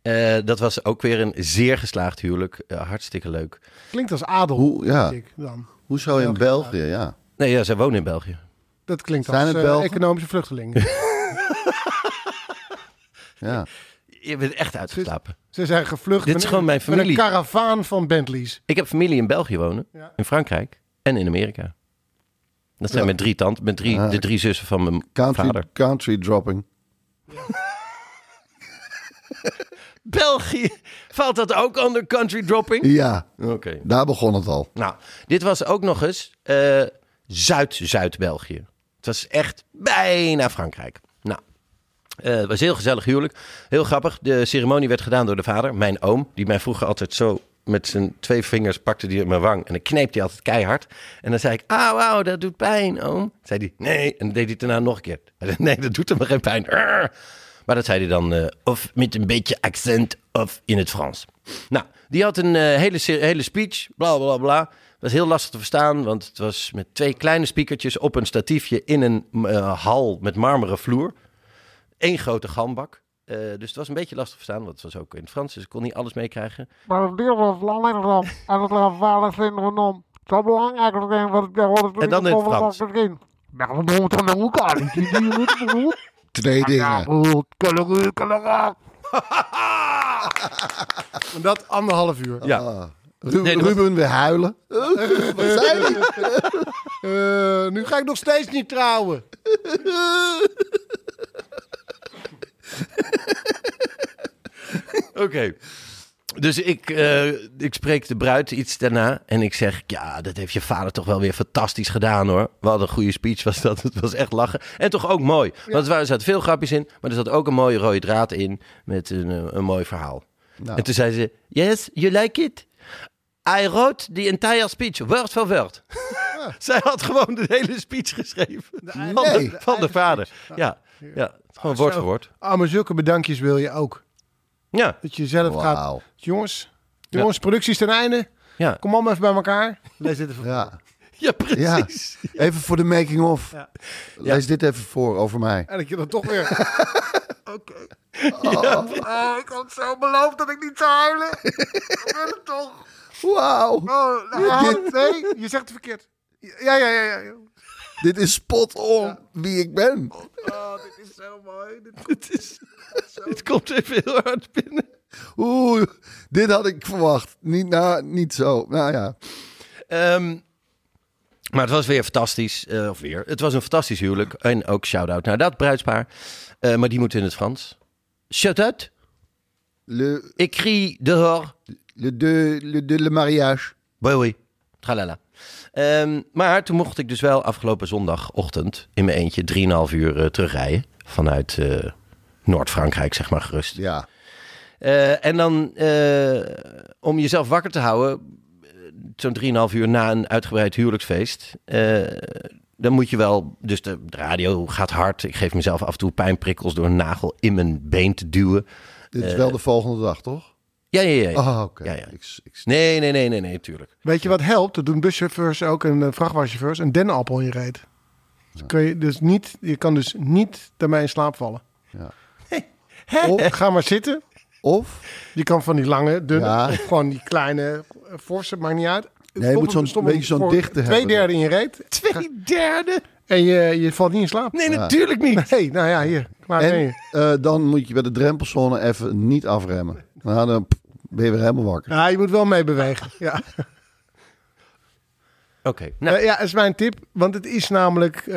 Speaker 6: Eh, dat was ook weer een zeer geslaagd huwelijk. Eh, hartstikke leuk.
Speaker 5: Klinkt als adel.
Speaker 7: Hoe, ja.
Speaker 5: denk ik dan.
Speaker 7: Hoezo in België? Ja.
Speaker 6: Nee, ja, zij wonen in België.
Speaker 5: Dat klinkt
Speaker 7: Zijn
Speaker 5: als
Speaker 7: het
Speaker 5: eh,
Speaker 7: Belgen?
Speaker 5: economische vluchtelingen.
Speaker 7: ja.
Speaker 6: Je bent echt uitgeslapen.
Speaker 5: Ze zijn gevlucht
Speaker 6: Dit is
Speaker 5: met-
Speaker 6: gewoon mijn familie.
Speaker 5: met een karavaan van Bentleys.
Speaker 6: Ik heb familie in België wonen,
Speaker 5: Ja.
Speaker 6: in Frankrijk en in Amerika. Dat zijn mijn drie tanten, mijn drie, de drie zussen van mijn
Speaker 7: Country,
Speaker 6: vader.
Speaker 7: country dropping.
Speaker 6: België, valt dat ook onder country dropping?
Speaker 7: Ja,
Speaker 6: Oké.
Speaker 7: daar begon het al.
Speaker 6: Nou, dit was ook nog eens eh, Zuid-Zuid-België. Het was echt bijna Frankrijk. Nou, Eh, het was een heel gezellig huwelijk. Heel grappig. De ceremonie werd gedaan door de vader, mijn oom. Die mij vroeger altijd zo met zijn twee vingers pakte die op mijn wang. En dan kneep hij altijd keihard. En dan zei ik, auw, auw, dat doet pijn, oom. Zei hij, nee. En dan deed hij het daarna nog een keer. Hij zei, nee, dat doet hem geen pijn. Arr. Maar dat zei hij dan eh, of met een beetje accent of in het Frans. Nou, die had een eh, hele, se- hele speech, bla bla bla. Was heel lastig te verstaan, want het was met twee kleine speakertjes op een statiefje in een eh, hal met marmeren vloer één grote gambak. Eh, dus het was een beetje lastig te verstaan, want het was ook in het Frans, dus ik kon niet alles meekrijgen.
Speaker 8: Maar het deel was alleen dan. En het was vader syndroom. Zo belangrijk dat ik wat ik daar hoorde.
Speaker 6: En dan in het Frans.
Speaker 8: Nou, we moeten naar elkaar. Die die moet goed.
Speaker 7: Twee
Speaker 8: Ja,
Speaker 7: dingen.
Speaker 8: goed. Kalorie, kalorie.
Speaker 5: En dat anderhalf uur.
Speaker 6: Ja,
Speaker 7: Ru-
Speaker 6: Nee, dat was-
Speaker 7: Ruben weer huilen. Wat zei hij?
Speaker 5: Eh, nu ga ik nog steeds niet trouwen.
Speaker 6: oké. Dus ik, eh, ik spreek de bruid iets daarna en ik zeg, ja, dat heeft je vader toch wel weer fantastisch gedaan hoor. Wat een goede speech was dat, het was echt lachen. En toch ook mooi, want er waren- er zaten veel grapjes in, maar er zat ook een mooie rode draad in met een, eh, een mooi verhaal. En toen zei ze, yes, you like it? I wrote the entire speech, word for word. Zij had gewoon de hele speech geschreven. van de,
Speaker 7: Nee.
Speaker 6: van de vader. Ja, ja, gewoon woord voor woord.
Speaker 5: Ah, maar zulke bedankjes wil je ook.
Speaker 6: Ja,
Speaker 5: Dat je zelf gaat.
Speaker 7: Wauw.
Speaker 5: Jongens, jongens, productie is ten einde.
Speaker 6: ja,
Speaker 5: Kom allemaal even bij elkaar. Lees dit even.
Speaker 7: Ja.
Speaker 6: ja,
Speaker 7: ja.
Speaker 6: precies.
Speaker 7: Even voor de making-of. Lees dit even voor over mij.
Speaker 5: En dat je dan toch weer.
Speaker 8: Oh, ik had zo beloofd dat ik niet zou huilen. Ik wil het toch.
Speaker 7: Wauw.
Speaker 8: Oh, nou, hij had-
Speaker 5: Nee, je zegt het verkeerd.
Speaker 8: Ja, ja, ja, ja.
Speaker 7: Dit is spot on wie ik ben.
Speaker 8: Oh, dit is zo mooi. Dit
Speaker 6: Het, is, het komt even heel hard binnen.
Speaker 7: Oeh, dit had ik verwacht. Niet, nou, niet zo. Nou ja.
Speaker 6: Ehm, maar het was weer fantastisch. eh, of weer. Het was een fantastisch huwelijk. En ook shout-out naar dat bruidspaar. Eh, maar die moet in het Frans. Shout-out.
Speaker 7: Le,
Speaker 6: Ik crie dehors.
Speaker 7: le, de, le, de, le mariage.
Speaker 6: Oui, oui. Tralala. Ehm, maar toen mocht ik dus wel afgelopen zondagochtend in mijn eentje 3,5 uur eh, terugrijden. Vanuit eh, Noord-Frankrijk, zeg maar gerust.
Speaker 7: Ja.
Speaker 6: Eh, en dan eh, om jezelf wakker te houden, eh, zo'n 3,5 uur na een uitgebreid huwelijksfeest, eh, dan moet je wel. Dus de radio gaat hard. Ik geef mezelf af en toe pijnprikkels door een nagel in mijn been te duwen.
Speaker 7: Dit is wel de volgende dag, toch?
Speaker 6: Ja, ja, ja. ja.
Speaker 7: Oh, oké.
Speaker 6: Eh, Ja, ja.
Speaker 7: Ik, ik,
Speaker 6: Nee, nee, nee, nee, nee, tuurlijk.
Speaker 5: Weet je wat helpt? Dat doen buschauffeurs ook en eh, vrachtwagenchauffeurs. Een dennenappel in je reet. Dus kun je, dus niet, je kan dus niet daarmee in slaap vallen.
Speaker 7: Ja.
Speaker 5: Of, ga maar zitten.
Speaker 7: of,
Speaker 5: Je kan van die lange, dunne,
Speaker 7: Ja.
Speaker 5: of gewoon die kleine, eh, forse, maakt niet uit.
Speaker 7: je moet zo'n beetje zo'n dichte
Speaker 5: Twee
Speaker 7: hebben.
Speaker 5: derde in je reet.
Speaker 6: Twee derde?
Speaker 5: En je, je valt niet in slaap.
Speaker 6: Nee, natuurlijk niet.
Speaker 5: Nee, nou ja, hier. Klaar ben
Speaker 7: en
Speaker 5: je.
Speaker 7: eh, dan moet je bij de drempelzone even niet afremmen. Nou, dan pff, ben je weer helemaal wakker.
Speaker 5: Ja, je moet wel meebewegen. Ja.
Speaker 6: Oké. Nou,
Speaker 5: Eh, ja, dat is mijn tip. Want het is namelijk, eh,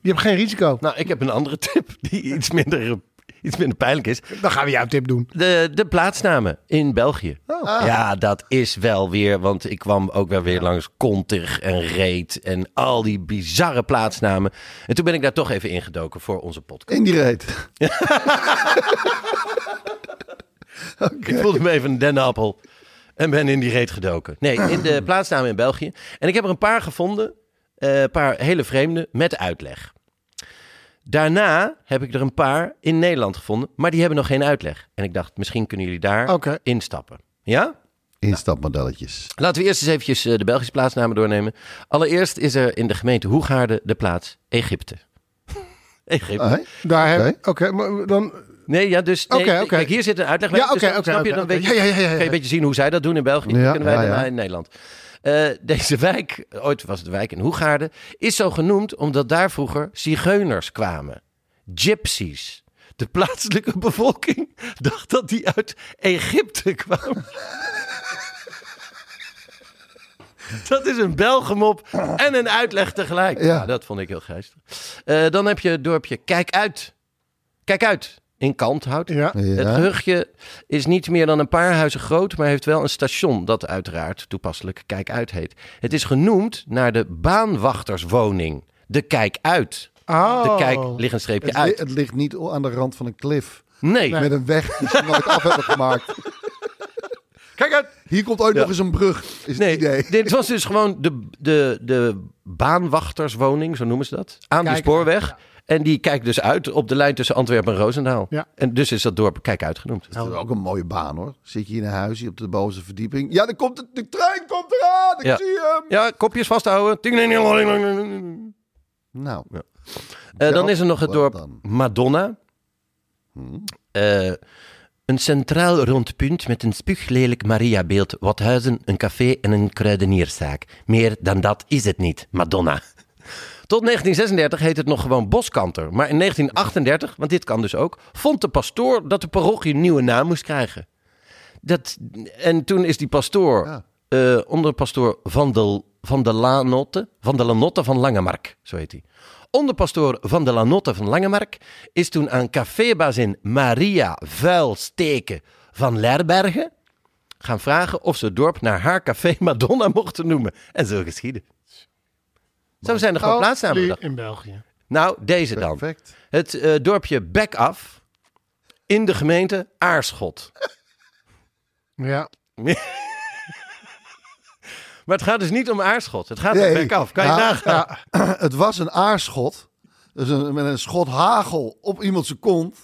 Speaker 5: je hebt geen risico.
Speaker 6: nou, ik heb een andere tip die iets minder, iets minder pijnlijk is.
Speaker 5: Dan gaan we jouw tip doen.
Speaker 6: De, de plaatsnamen in België. Ja, dat is wel weer. Want ik kwam ook wel weer langs Kontig en Reet en al die bizarre plaatsnamen. En toen ben ik daar toch even ingedoken voor onze podcast.
Speaker 7: In die reet.
Speaker 6: Ik voelde me even een dennenappel en ben in die reet gedoken. Nee, in de plaatsnamen in België. En ik heb er een paar gevonden. eh, Een paar hele vreemde met uitleg. Daarna heb ik er een paar in Nederland gevonden. Maar die hebben nog geen uitleg. En ik dacht, misschien kunnen jullie daar
Speaker 5: Oké.
Speaker 6: instappen. Ja?
Speaker 7: Instapmodelletjes.
Speaker 6: Laten we eerst eens eventjes eh, de Belgische plaatsnamen doornemen. Allereerst is er in de gemeente Hoegaarden de plaats Egypte. Egypte.
Speaker 7: Hé?
Speaker 5: Daar
Speaker 7: Oké.
Speaker 5: heb Oké, maar dan...
Speaker 6: Nee, ja, dus... nee,
Speaker 5: Oké, oké.
Speaker 6: Kijk, hier zit een uitleg bij.
Speaker 5: Ja,
Speaker 6: Dus
Speaker 5: oké,
Speaker 6: dan
Speaker 5: oké,
Speaker 6: Snap je,
Speaker 5: oké,
Speaker 6: dan
Speaker 5: oké.
Speaker 6: weet je,
Speaker 5: Ja, ja, ja, ja,
Speaker 6: kan je
Speaker 5: ja.
Speaker 6: een beetje zien hoe zij dat doen in België.
Speaker 7: Ja,
Speaker 6: dat kunnen wij
Speaker 7: ja,
Speaker 6: daarna
Speaker 7: ja.
Speaker 6: in Nederland. Eh, deze wijk, ooit was het de wijk in Hoegaarden, is zo genoemd omdat daar vroeger zigeuners kwamen. Gypsies. De plaatselijke bevolking dacht dat die uit Egypte kwamen. Dat is een Belgemop en een uitleg tegelijk. Ja.
Speaker 7: Ja.
Speaker 6: dat vond ik heel geestig. Eh, dan heb je het dorpje Kijk Uit. Kijk Uit in Kanthout.
Speaker 5: Ja.
Speaker 6: Het
Speaker 7: Ja.
Speaker 6: gehuchtje is niet meer dan een paar huizen groot, maar heeft wel een station dat uiteraard toepasselijk Kijk Uit heet. Het is genoemd naar de baanwachterswoning, de Kijk Uit.
Speaker 5: Oké. Oh.
Speaker 6: de kijk ligt een streepje
Speaker 4: Het, li-
Speaker 6: uit.
Speaker 4: het ligt niet o- aan de rand van een cliff.
Speaker 6: nee.
Speaker 4: Met een weg die ze nooit af hebben gemaakt.
Speaker 6: Kijk uit.
Speaker 4: Hier komt ooit nog eens een brug, is
Speaker 6: Nee,
Speaker 4: het idee.
Speaker 6: dit was dus gewoon de, de, de baanwachterswoning, zo noemen ze dat, aan de
Speaker 5: Kijk.
Speaker 6: spoorweg. En die kijkt dus uit op de lijn tussen Antwerpen en Roosendaal.
Speaker 5: Ja.
Speaker 6: En dus is dat dorp Kijk uitgenoemd.
Speaker 4: Dat is ook een mooie baan hoor. Zit je in een huis hier op de bovenste verdieping. Ja, dan komt het, de trein komt eraan. Ik
Speaker 6: Ja.
Speaker 4: zie hem.
Speaker 6: Ja, kopjes vasthouden. Ting-ling-ling-ling-ling-ling.
Speaker 4: Nou,
Speaker 6: Eh, dan is er nog het
Speaker 4: Wel
Speaker 6: dorp
Speaker 4: dan.
Speaker 6: Madonna. Eh, een centraal rond punt met een spuuglelijk Mariabeeld, wat huizen, een café en een kruidenierszaak. Meer dan dat is het niet, Madonna. Tot 1936 heet het nog gewoon Boskanter. Maar in 1938, want dit kan dus ook, vond de pastoor dat de parochie een nieuwe naam moest krijgen. Dat, en toen is die pastoor
Speaker 4: Ja.
Speaker 6: eh, onderpastoor van de, van de Lanotte, van de Lanotte van Langemark, zo heet hij. Onderpastoor van de Lanotte van Langemark is toen aan cafébazin Maria Vuilsteken van Lerbergen gaan vragen of ze het dorp naar haar café Madonna mochten noemen. En zo geschiedde. Zo zijn er gewoon plaatsnamen bedacht.
Speaker 5: in België.
Speaker 6: Nou, deze dan.
Speaker 4: perfect.
Speaker 6: Het eh, dorpje Bekaf in de gemeente Aarschot.
Speaker 5: Ja.
Speaker 6: Maar het gaat dus niet om Aarschot. Het gaat om
Speaker 4: Nee. Ah.
Speaker 6: Bekaf. Kan je
Speaker 4: Ja,
Speaker 6: nagaan?
Speaker 4: ja. het was een aarschot. Dus een, met een schot hagel op iemand zijn kont.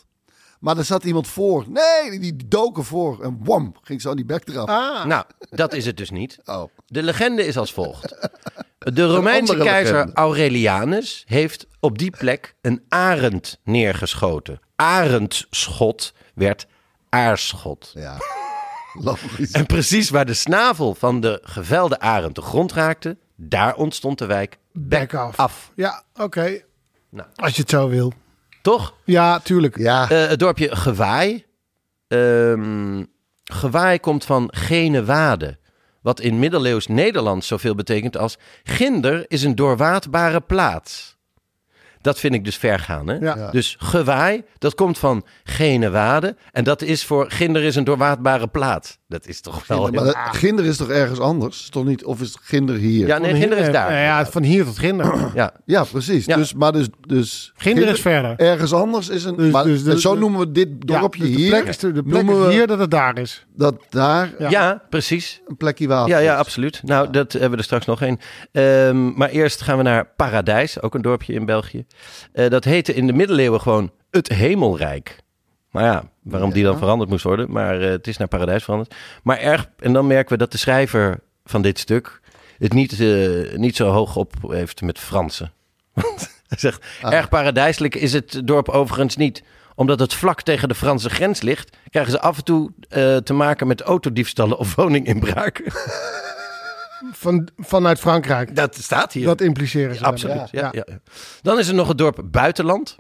Speaker 4: Maar er zat iemand voor. Nee, die- die doken voor. En wam, ging zo aan die bek eraf.
Speaker 6: Nou, dat is het dus niet.
Speaker 4: Oh.
Speaker 6: De legende is als volgt. De Romeinse
Speaker 4: andere
Speaker 6: keizer
Speaker 4: legende.
Speaker 6: Aurelianus heeft op die plek een arend neergeschoten. Arendschot werd aarschot.
Speaker 4: Ja, logisch.
Speaker 6: En precies waar de snavel van de gevelde arend de grond raakte, daar ontstond de wijk
Speaker 5: Back off.
Speaker 6: af.
Speaker 5: Ja, oké.
Speaker 6: Nou.
Speaker 5: Als je het zo wil.
Speaker 6: Toch?
Speaker 5: Ja, tuurlijk.
Speaker 4: Ja,
Speaker 6: Eh, het dorpje Gewaai. Ehm, gewaai komt van Genewade. Wat in middeleeuws Nederland zoveel betekent als... Ginder is een doorwaadbare plaats. Dat vind ik dus ver gaan, hè?
Speaker 5: Ja. Ja.
Speaker 6: Dus gewaai, dat komt van Genewade. En dat is voor Ginder is een doorwaadbare plaats. Dat is toch wel...
Speaker 4: maar dat- ginder is toch ergens anders? Toch niet? Of is het ginder hier?
Speaker 6: Ja,
Speaker 4: Ja,
Speaker 6: nee, Ginder is daar.
Speaker 5: Ja, ja, van hier tot Ginder.
Speaker 6: Ja.
Speaker 4: precies.
Speaker 6: Ja.
Speaker 4: Dus, maar dus, dus
Speaker 5: Ginder is verder.
Speaker 4: Ergens anders is een.
Speaker 5: Dus-
Speaker 4: maar,
Speaker 5: dus de-
Speaker 4: zo
Speaker 5: de-
Speaker 4: noemen we dit dorpje
Speaker 5: ja, dus
Speaker 4: hier.
Speaker 5: De plek is, de, de plek
Speaker 4: noemen
Speaker 5: is
Speaker 4: we
Speaker 5: hier dat het daar is.
Speaker 4: dat daar
Speaker 6: Ja. precies.
Speaker 4: een plekje water.
Speaker 6: Ja, ja,
Speaker 4: is.
Speaker 6: absoluut. Nou, dat hebben we er straks nog één. Ehm, maar eerst gaan we naar Paradijs, ook een dorpje in België. Eh, dat heette in de middeleeuwen gewoon het Hemelrijk. Maar ja, waarom die dan veranderd moest worden. Maar eh, het is naar Paradijs veranderd. Maar erg, en dan merken we dat de schrijver van dit stuk het niet, eh, niet zo hoog op heeft met Fransen. Want hij zegt, erg paradijselijk is het dorp overigens niet. Omdat het vlak tegen de Franse grens ligt, krijgen ze af en toe eh, te maken met autodiefstallen of woninginbraken.
Speaker 5: Van, vanuit Frankrijk.
Speaker 6: Dat staat hier.
Speaker 5: Dat impliceren ze.
Speaker 6: Absoluut. Ja, ja. Dan is er nog het dorp Buitenland.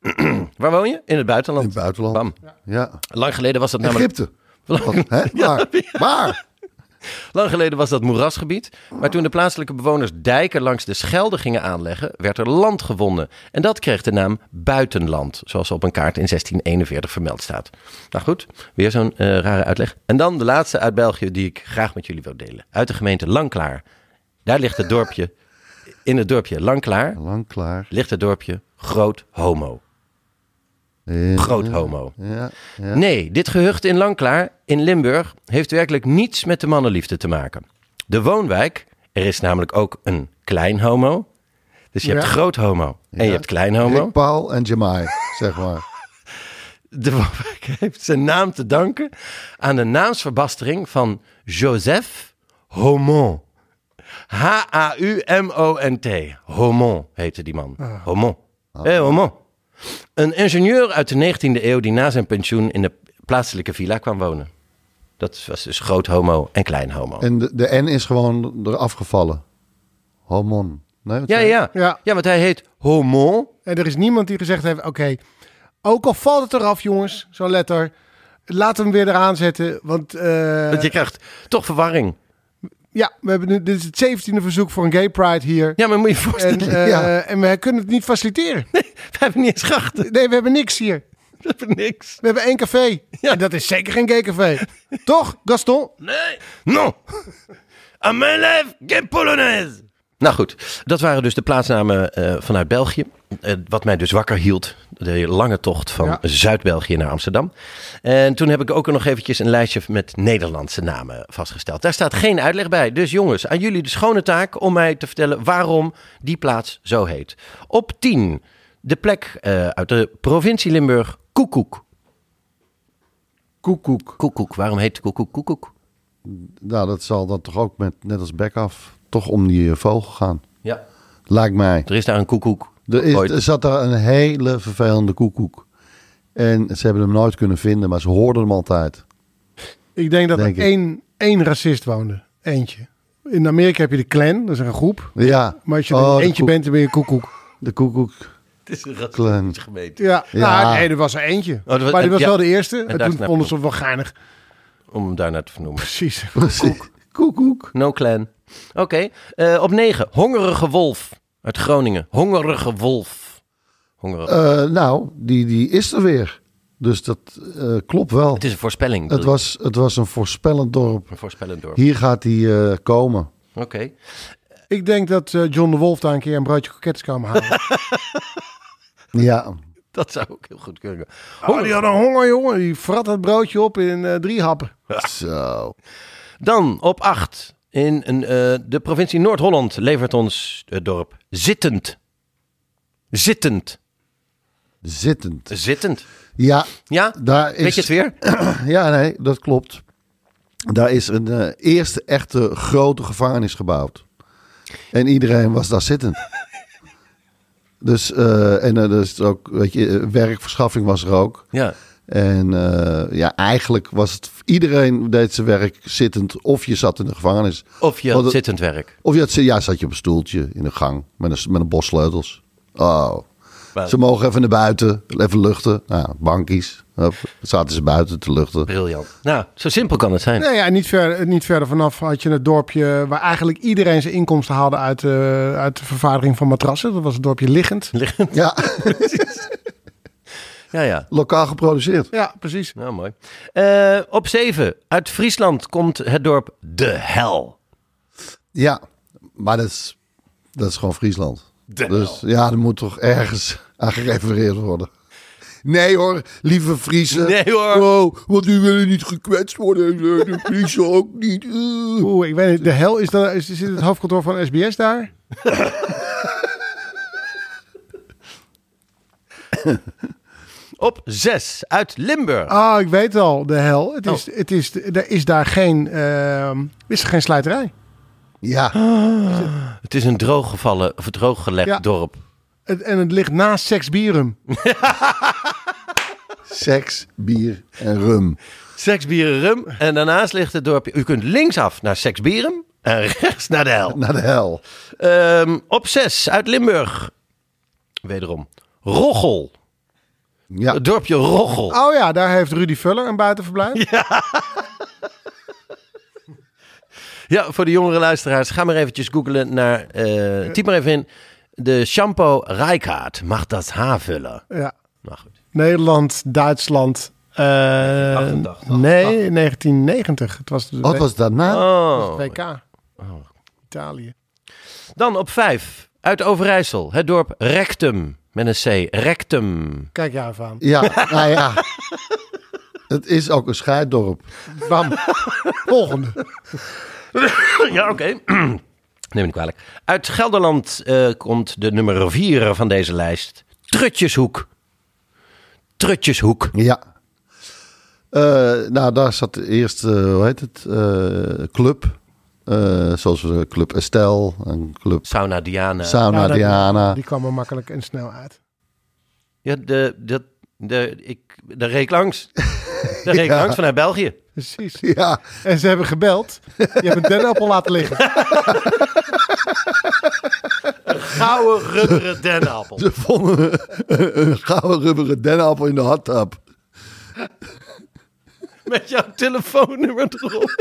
Speaker 6: Waar woon je? In het buitenland.
Speaker 4: In het buitenland.
Speaker 6: Bam.
Speaker 4: Ja.
Speaker 6: Lang geleden was dat namelijk.
Speaker 4: Egypte. Wat,
Speaker 6: Lang,
Speaker 4: hè? Maar, maar
Speaker 6: lang geleden was dat moerasgebied. Maar toen de plaatselijke bewoners dijken langs de Schelde gingen aanleggen, werd er land gewonnen. En dat kreeg de naam Buitenland, zoals op een kaart in 1641 vermeld staat. Nou goed, weer zo'n eh, rare uitleg. En dan de laatste uit België die ik graag met jullie wil delen. Uit de gemeente Langklaar. Daar ligt het dorpje. In het dorpje Langklaar
Speaker 4: lang klaar.
Speaker 6: ligt het dorpje Groot Homo.
Speaker 4: Ja.
Speaker 6: Groot Homo.
Speaker 4: Ja.
Speaker 6: Nee, dit gehucht in Langklaar in Limburg heeft werkelijk niets met de mannenliefde te maken. De woonwijk, er is namelijk ook een klein homo. Dus je hebt
Speaker 5: Ja.
Speaker 6: groot homo en je hebt klein homo.
Speaker 4: Rick Paul en Jamai, zeg maar.
Speaker 6: De woonwijk heeft zijn naam te danken aan de naamsverbastering van Joseph Homon. H-A-U-M-O-N-T. Homon heette die man.
Speaker 5: Ah.
Speaker 6: Homon. Hé, Homon. Een ingenieur uit de 19e eeuw die na zijn pensioen in de plaatselijke villa kwam wonen. Dat was dus groot homo en klein homo.
Speaker 4: En de, de N is gewoon eraf gevallen. Homon. Nee, wat
Speaker 6: Ja,
Speaker 4: zei je?
Speaker 6: ja, ja.
Speaker 5: Ja.
Speaker 6: Ja, want hij heet Homon.
Speaker 5: En er is niemand die gezegd heeft: oké, ook al valt het eraf, jongens, zo'n letter. Laat hem weer eraan zetten. Want, eh,
Speaker 6: Want je krijgt toch verwarring.
Speaker 5: ja, we hebben nu, dit is het 17e verzoek voor een gay pride hier.
Speaker 6: Ja, maar moet je je voorstellen,
Speaker 5: En, eh,
Speaker 4: Ja.
Speaker 5: en we kunnen het niet faciliteren.
Speaker 6: we hebben niet eens grachten.
Speaker 5: Nee, we hebben niks hier.
Speaker 6: We hebben niks.
Speaker 5: We hebben één café. En dat is zeker geen gay café. Toch, Gaston?
Speaker 6: Nee. Non. À mijn lijf, geen polonaise. Nou goed, dat waren dus de plaatsnamen eh, vanuit België. Eh, wat mij dus wakker hield, de lange tocht van
Speaker 5: Ja.
Speaker 6: Zuid-België naar Amsterdam. En toen heb ik ook nog eventjes een lijstje met Nederlandse namen vastgesteld. Daar staat geen uitleg bij. Dus jongens, aan jullie de schone taak om mij te vertellen waarom die plaats zo heet. Op 10, de plek eh, uit de provincie Limburg, Koekoek.
Speaker 4: Koekoek.
Speaker 6: Koekoek, waarom heet Koekoek Koekoek?
Speaker 4: Nou, dat zal dan toch ook met, net als Backaf, toch om die eh, vogel gaan.
Speaker 6: Ja.
Speaker 4: Lijkt mij.
Speaker 6: Er is daar een koekoek.
Speaker 4: Er, is,
Speaker 6: Ooit.
Speaker 4: er zat daar een hele vervelende koekoek. En ze hebben hem nooit kunnen vinden, maar ze hoorden hem altijd.
Speaker 5: Ik denk dat
Speaker 4: Denk
Speaker 5: er
Speaker 4: ik.
Speaker 5: één, één racist woonde. Eentje. In Amerika heb je de clan, dat is een groep.
Speaker 4: Ja.
Speaker 5: Maar als je
Speaker 4: Oh,
Speaker 5: er
Speaker 4: de
Speaker 5: eentje
Speaker 4: koek-
Speaker 5: bent, dan ben je koekoek.
Speaker 4: De koekoek.
Speaker 6: Het is een
Speaker 4: Klein.
Speaker 6: gemeente.
Speaker 5: Ja,
Speaker 4: Ja.
Speaker 5: Nou, nee, er was er eentje.
Speaker 6: Oh, dat was-
Speaker 5: maar die was
Speaker 6: ja.
Speaker 5: wel de eerste.
Speaker 6: daar
Speaker 5: En toen
Speaker 6: snap
Speaker 5: vonden
Speaker 6: ik
Speaker 5: ze het wel geinig.
Speaker 6: Om hem daarnaar te vernoemen.
Speaker 5: Precies.
Speaker 4: Koekoek. Koekoek.
Speaker 6: No clan. Oké. eh, op 9. Hongerige wolf. Uit Groningen. Hongerige wolf. Hongerige.
Speaker 4: Eh, nou, die, die is er weer. Dus dat eh, klopt wel.
Speaker 6: het is een voorspelling.
Speaker 4: Het
Speaker 6: bedoel ik.
Speaker 4: was, het was een voorspellend dorp.
Speaker 6: Een voorspellend dorp.
Speaker 4: Hier gaat hij eh, komen.
Speaker 6: Oké.
Speaker 5: Ik denk dat eh, John de Wolf daar een keer een broodje krokettes kwam halen.
Speaker 4: Ja.
Speaker 6: Dat zou ook heel goed kunnen.
Speaker 4: Ah,
Speaker 5: Oh, die had een honger, jongen. Die frat het broodje op in eh, drie happen.
Speaker 4: Zo.
Speaker 6: Dan op 8. In een, eh, de provincie Noord-Holland levert ons het dorp Zittend. Zittend.
Speaker 4: Zittend.
Speaker 6: Zittend.
Speaker 4: Ja,
Speaker 6: Ja?
Speaker 4: daar is... Eh,
Speaker 6: Weet je het weer?
Speaker 4: Ja, nee, dat klopt. Daar is een eh, eerste echte grote gevangenis gebouwd. En iedereen was daar zittend. Dus, eh, en eh, er is ook, weet je, eh, werkverschaffing was er ook.
Speaker 6: Ja.
Speaker 4: En eh, ja, eigenlijk was het, iedereen deed zijn werk zittend. Of je zat in de gevangenis.
Speaker 6: Of je
Speaker 4: Want
Speaker 6: had
Speaker 4: het-
Speaker 6: zittend werk.
Speaker 4: Of je had, ja, zat je op een stoeltje in de gang met een, met een bos sleutels. Oh.
Speaker 6: Wauw.
Speaker 4: Ze mogen even naar buiten, even luchten. Nou, bankies. Hup, zaten ze buiten te luchten.
Speaker 6: Briljant. Nou, zo simpel kan het zijn.
Speaker 5: Nee, Nou ja, niet, ver, niet verder vanaf had je het dorpje waar eigenlijk iedereen zijn inkomsten haalde uit, eh, uit de vervaardiging van matrassen. Dat was het dorpje Liggend.
Speaker 4: Ja,
Speaker 6: Ja, ja.
Speaker 4: lokaal geproduceerd.
Speaker 5: Ja, precies.
Speaker 6: Nou, mooi. Eh, op 7. Uit Friesland komt het dorp De Hel.
Speaker 4: Ja, maar dat is, dat is gewoon Friesland. dus ja, er moet toch ergens aan gerefereerd worden. Nee hoor, lieve Friesen.
Speaker 6: Nee, hoor.
Speaker 4: Oh, want u willen niet gekwetst worden. De Friesen ook niet. Eh.
Speaker 5: Oeh, ik weet niet. De hel, is, dat, is, zit het hoofdkantoor van SBS daar?
Speaker 6: Op 6. Uit Limburg.
Speaker 5: Ah, ik weet al, de hel. Het is, het is, er is daar geen, ehm, is er geen slijterij.
Speaker 4: Ja,
Speaker 6: Het is een drooggevallen of drooggelegd
Speaker 5: Ja.
Speaker 6: dorp.
Speaker 5: Het, en het ligt naast Seksbierum.
Speaker 4: seks, bier en rum.
Speaker 6: Seksbieren Rum. En daarnaast ligt het dorpje. U kunt linksaf naar Seksbieren en rechts naar De Hel.
Speaker 4: Naar de hel.
Speaker 6: Ehm, op 6. Uit Limburg. Wederom. Roggel.
Speaker 4: Ja,
Speaker 6: Het dorpje Roggel.
Speaker 5: Oh ja, daar heeft Rudy Vuller een buitenverblijf.
Speaker 6: Ja, voor de jongere luisteraars, ga maar eventjes googlen naar. eh, typ maar even in. De shampoo Rijkaard mag dat haarvullen.
Speaker 5: Ja.
Speaker 6: Nou goed.
Speaker 5: Nederland, Duitsland. eh, nee, 1990. Het was de
Speaker 4: wat was daarna?
Speaker 6: Oh.
Speaker 5: WK. Italië.
Speaker 6: Dan op vijf. Uit Overijssel, het dorp Rectum. Met een C. Rectum.
Speaker 5: Kijk jij even aan.
Speaker 4: Ja, nou ja. Het is ook een scheiddorp.
Speaker 5: Bam. Volgende.
Speaker 6: Ja, oké. Neem me niet kwalijk. Uit Gelderland eh, komt de nummer vier van deze lijst. Trutjeshoek. Trutjeshoek.
Speaker 4: Ja. Eh, nou, daar zat eerst, eh, hoe heet het, eh, club. Eh, zoals we Club Estelle en Club
Speaker 6: Sauna Diana.
Speaker 4: Sauna
Speaker 5: Ja, dat-
Speaker 4: Diana.
Speaker 5: Die kwam er makkelijk en snel uit.
Speaker 6: ja, de, de, de, ik, de reek langs. De reek langs vanuit België.
Speaker 5: Precies.
Speaker 4: Ja,
Speaker 5: En ze hebben gebeld. Je hebt een dennenappel laten liggen.
Speaker 6: gouden rubberen dennenappel.
Speaker 4: ze vonden een gouden rubberen dennenappel in de hot tub.
Speaker 6: Met jouw telefoonnummer erop.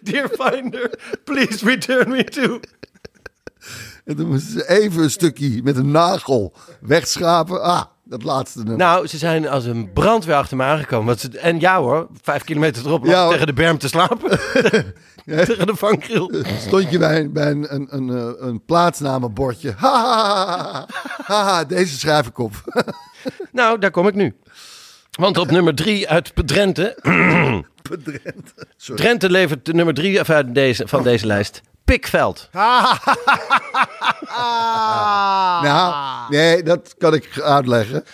Speaker 6: Dear Finder, please return me to.
Speaker 4: En toen moesten ze even een stukje met een nagel wegschrapen. Ah, Dat laatste nummer.
Speaker 6: Nou, ze zijn als een brandweer achter me aangekomen. Want ze- en ja hoor, vijf kilometer erop
Speaker 4: Ja,
Speaker 6: lag ik
Speaker 4: hoor.
Speaker 6: tegen de berm te slapen. tegen de vangrail.
Speaker 4: Stond je bij, een- bij een, een, een, eh, een plaatsnamenbordje. Ha, ha, ha, ha, ha, ha, deze schrijf ik op.
Speaker 6: Nou, daar kom ik nu. Want op nummer drie uit Drenthe... Drenthe levert de nummer drie af uit deze, van deze lijst. Pikveld.
Speaker 4: Nou, nee, dat kan ik uitleggen.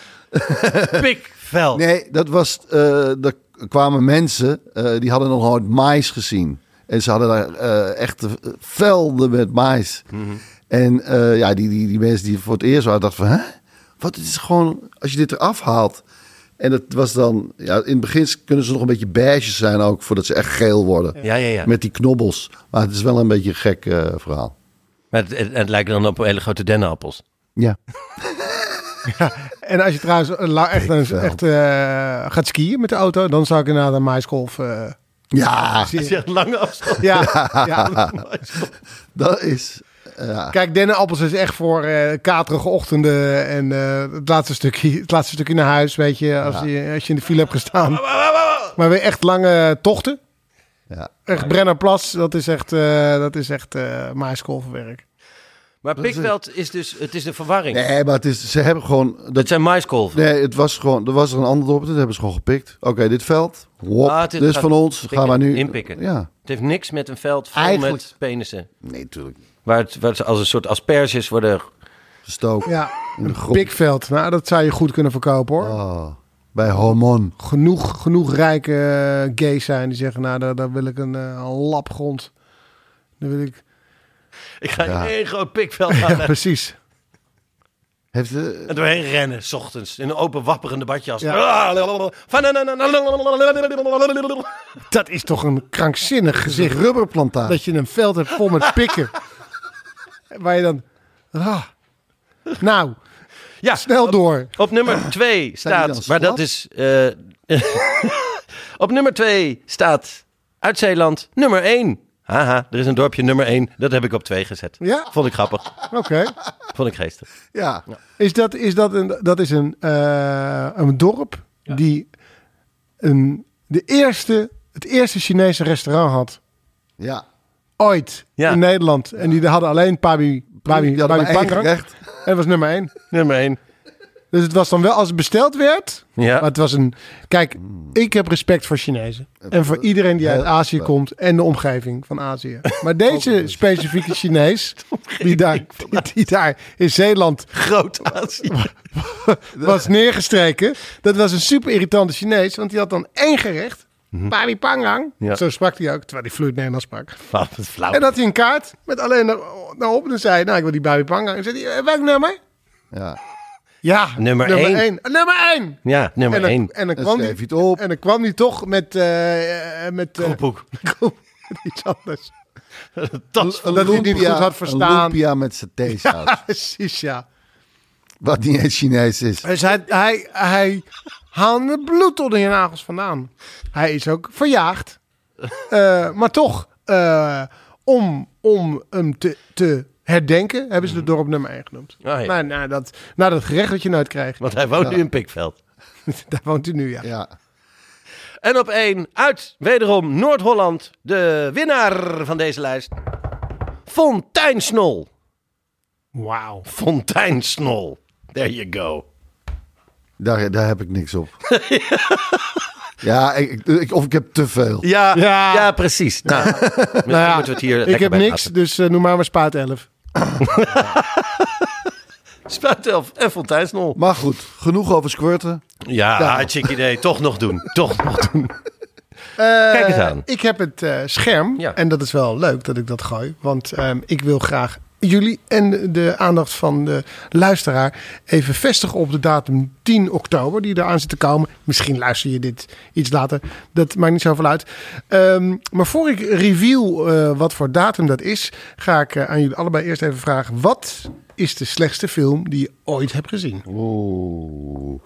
Speaker 6: Pikveld.
Speaker 4: Nee, dat was. eh, er kwamen mensen eh, die hadden nog nooit mais gezien. En ze hadden daar eh, echt velden met mais. En eh, ja, die, die, die mensen die voor het eerst waren, dachten van... Hè? Wat, het is gewoon... Als je dit eraf haalt... En dat was dan... Ja, in het begin kunnen ze nog een beetje beige zijn ook... voordat ze echt geel worden.
Speaker 6: Ja, ja, ja.
Speaker 4: Met die knobbels. Maar het is wel een beetje een gek eh, verhaal.
Speaker 6: Maar het, het, het lijkt dan op hele grote dennenappels.
Speaker 4: Ja.
Speaker 5: En als je trouwens eh, la- echt,
Speaker 4: Ik wel.
Speaker 5: echt eh, gaat skiën met de auto, dan zou ik inderdaad een maiskolf... eh
Speaker 4: Ja,
Speaker 6: Het is echt een lange afstand.
Speaker 5: ja, ja.
Speaker 4: dat is...
Speaker 5: Kijk, dennenappels is echt voor eh, katerige ochtenden en eh, het, laatste stukje, het laatste stukje naar huis, weet je, als, je, als je in de file hebt gestaan. Maar weer echt lange tochten.
Speaker 4: Ja.
Speaker 5: Echt Brennerplas, dat is echt, eh dat is echt eh maiskolfwerk.
Speaker 6: Maar Pikveld is dus... Het is een verwarring.
Speaker 4: Nee, maar het is, ze hebben gewoon...
Speaker 6: Dat zijn maiskolven.
Speaker 4: Nee, het was gewoon, er was er een ander dorp, dat hebben ze gewoon gepikt. Oké, dit veld, hop,
Speaker 6: Ah,
Speaker 4: dit
Speaker 6: dit
Speaker 4: is
Speaker 6: gaat
Speaker 4: van ons,
Speaker 6: pikken,
Speaker 4: gaan we nu...
Speaker 6: inpikken.
Speaker 4: Ja.
Speaker 6: Het heeft niks met een veld vol
Speaker 4: Eigenlijk-
Speaker 6: met penissen.
Speaker 4: Nee, natuurlijk.
Speaker 6: Waar, het, waar ze als een soort asperges worden...
Speaker 4: Gestoken.
Speaker 5: Ja,
Speaker 4: In de grond.
Speaker 5: Pikveld, nou dat zou je goed kunnen verkopen hoor.
Speaker 4: Oh, bij Hormon.
Speaker 5: Genoeg, genoeg rijke eh, gays zijn die zeggen, nou daar, daar wil ik een, eh, een lap grond. Dan wil ik,
Speaker 6: Ik ga in één groot pikveld gaan
Speaker 5: ja, precies.
Speaker 4: Heeft de...
Speaker 6: en doorheen rennen, 's ochtends. In een open wapperende badjas.
Speaker 5: Ja. Dat is toch een krankzinnig gezicht.
Speaker 4: rubberplantaat.
Speaker 5: dat je een veld hebt vol met pikken. Waar je dan. ah. Nou,
Speaker 6: Ja,
Speaker 5: snel door.
Speaker 6: op nummer twee
Speaker 4: dan
Speaker 6: staat... Maar
Speaker 4: slap?
Speaker 6: dat is... eh, op nummer twee staat uit Zeeland nummer één. Haha, er is een dorpje nummer één. Dat heb ik op twee gezet.
Speaker 5: Ja?
Speaker 6: Vond ik grappig.
Speaker 5: Oké.
Speaker 6: Vond ik geestig.
Speaker 4: Ja.
Speaker 5: Is dat, is dat, een, dat is een, eh, een dorp die een, de eerste, het eerste Chinese restaurant had
Speaker 4: Ja.
Speaker 5: ooit
Speaker 6: Ja.
Speaker 5: in Nederland. En die hadden alleen Pabi,
Speaker 4: Die
Speaker 5: Pabi,
Speaker 4: hadden
Speaker 5: Pabi
Speaker 4: maar één
Speaker 5: Pangrang. En
Speaker 4: gerecht.
Speaker 5: dat was nummer één.
Speaker 6: Nummer één.
Speaker 5: Dus het was dan wel als het besteld werd.
Speaker 6: Ja.
Speaker 5: Maar het was een. Kijk, ik heb respect voor Chinezen. En voor iedereen die uit
Speaker 4: Heel
Speaker 5: Azië
Speaker 4: erg.
Speaker 5: komt en de omgeving van Azië. Maar deze specifieke Chinees, die daar, die, die daar in Zeeland
Speaker 6: Groot Azië.
Speaker 5: was neergestreken, dat was een super irritante Chinees. Want die had dan één gerecht. Pari Pangang.
Speaker 6: Mhm. Ja. Oh.
Speaker 5: Zo sprak hij ook, terwijl hij vloeit Nederlands sprak.
Speaker 6: Wat een flauw.
Speaker 5: En dat hij een kaart met alleen naar, naar op en dan zei: hij, Nou, ik wil die Babi Pangang. En zei hij: "Eh, Welk nummer?
Speaker 4: Ja.
Speaker 5: Ja,
Speaker 6: Nummer één.
Speaker 5: één. Nummer één!
Speaker 6: Ja, nummer
Speaker 5: en dan,
Speaker 6: één.
Speaker 5: En dan
Speaker 4: Dan
Speaker 5: kwam
Speaker 4: schreef
Speaker 5: die-
Speaker 4: je het op.
Speaker 5: En dan kwam hij toch met... eh, eh, met eh,
Speaker 6: Koekoek.
Speaker 5: iets anders.
Speaker 6: Dat-
Speaker 5: Dat hij het niet goed had
Speaker 4: Een
Speaker 5: verstaan.
Speaker 4: lumpia met satésaus.
Speaker 5: Precies, ja.
Speaker 4: Wat niet eens Chinees is.
Speaker 5: Dus hij, hij, hij haalde bloed onder je nagels vandaan. Hij is ook verjaagd. Eh, maar toch, eh, om, om hem te, te herdenken, hebben ze de dorp nummer 1 genoemd.
Speaker 6: Mhm. Ah, ja.
Speaker 5: nou, nou, dat, nou, dat gerecht dat je nooit krijgt.
Speaker 6: Want hij woont nu in Pikveld.
Speaker 5: Daar woont hij nu, ja.
Speaker 4: Ja.
Speaker 6: En op één, uit wederom Noord-Holland, de winnaar van deze lijst. Fonteinsnol.
Speaker 5: Wauw.
Speaker 6: Fonteinsnol. There you go.
Speaker 4: Daar, daar heb ik niks op. ja, ik, ik- ik- of ik heb te veel.
Speaker 6: Ja,
Speaker 5: Ja.
Speaker 6: ja. precies. Nou, misschien moeten we het hier
Speaker 5: Ik
Speaker 6: lekker
Speaker 5: heb
Speaker 6: bij
Speaker 5: niks,
Speaker 6: laten.
Speaker 5: dus eh, noem maar maar spaat 11.
Speaker 6: Spuitelf en Fonteinsnol.
Speaker 4: Maar goed, genoeg over squirten.
Speaker 6: Ja, hartstikke idee. Toch nog doen. Toch nog doen. Kijk eens aan.
Speaker 5: Eh, Ik heb het eh, scherm.
Speaker 6: Ja.
Speaker 5: En dat is wel leuk dat ik dat gooi. Want ehm, ik wil graag jullie en de aandacht van de luisteraar even vestigen op de datum 10 oktober die eraan zit te komen. Misschien luister je dit iets later. Dat maakt niet zoveel uit. Ehm, maar voor ik reveal eh, wat voor datum dat is, ga ik eh, aan jullie allebei eerst even vragen. Wat is de slechtste film die je ooit hebt gezien?
Speaker 4: Oeh.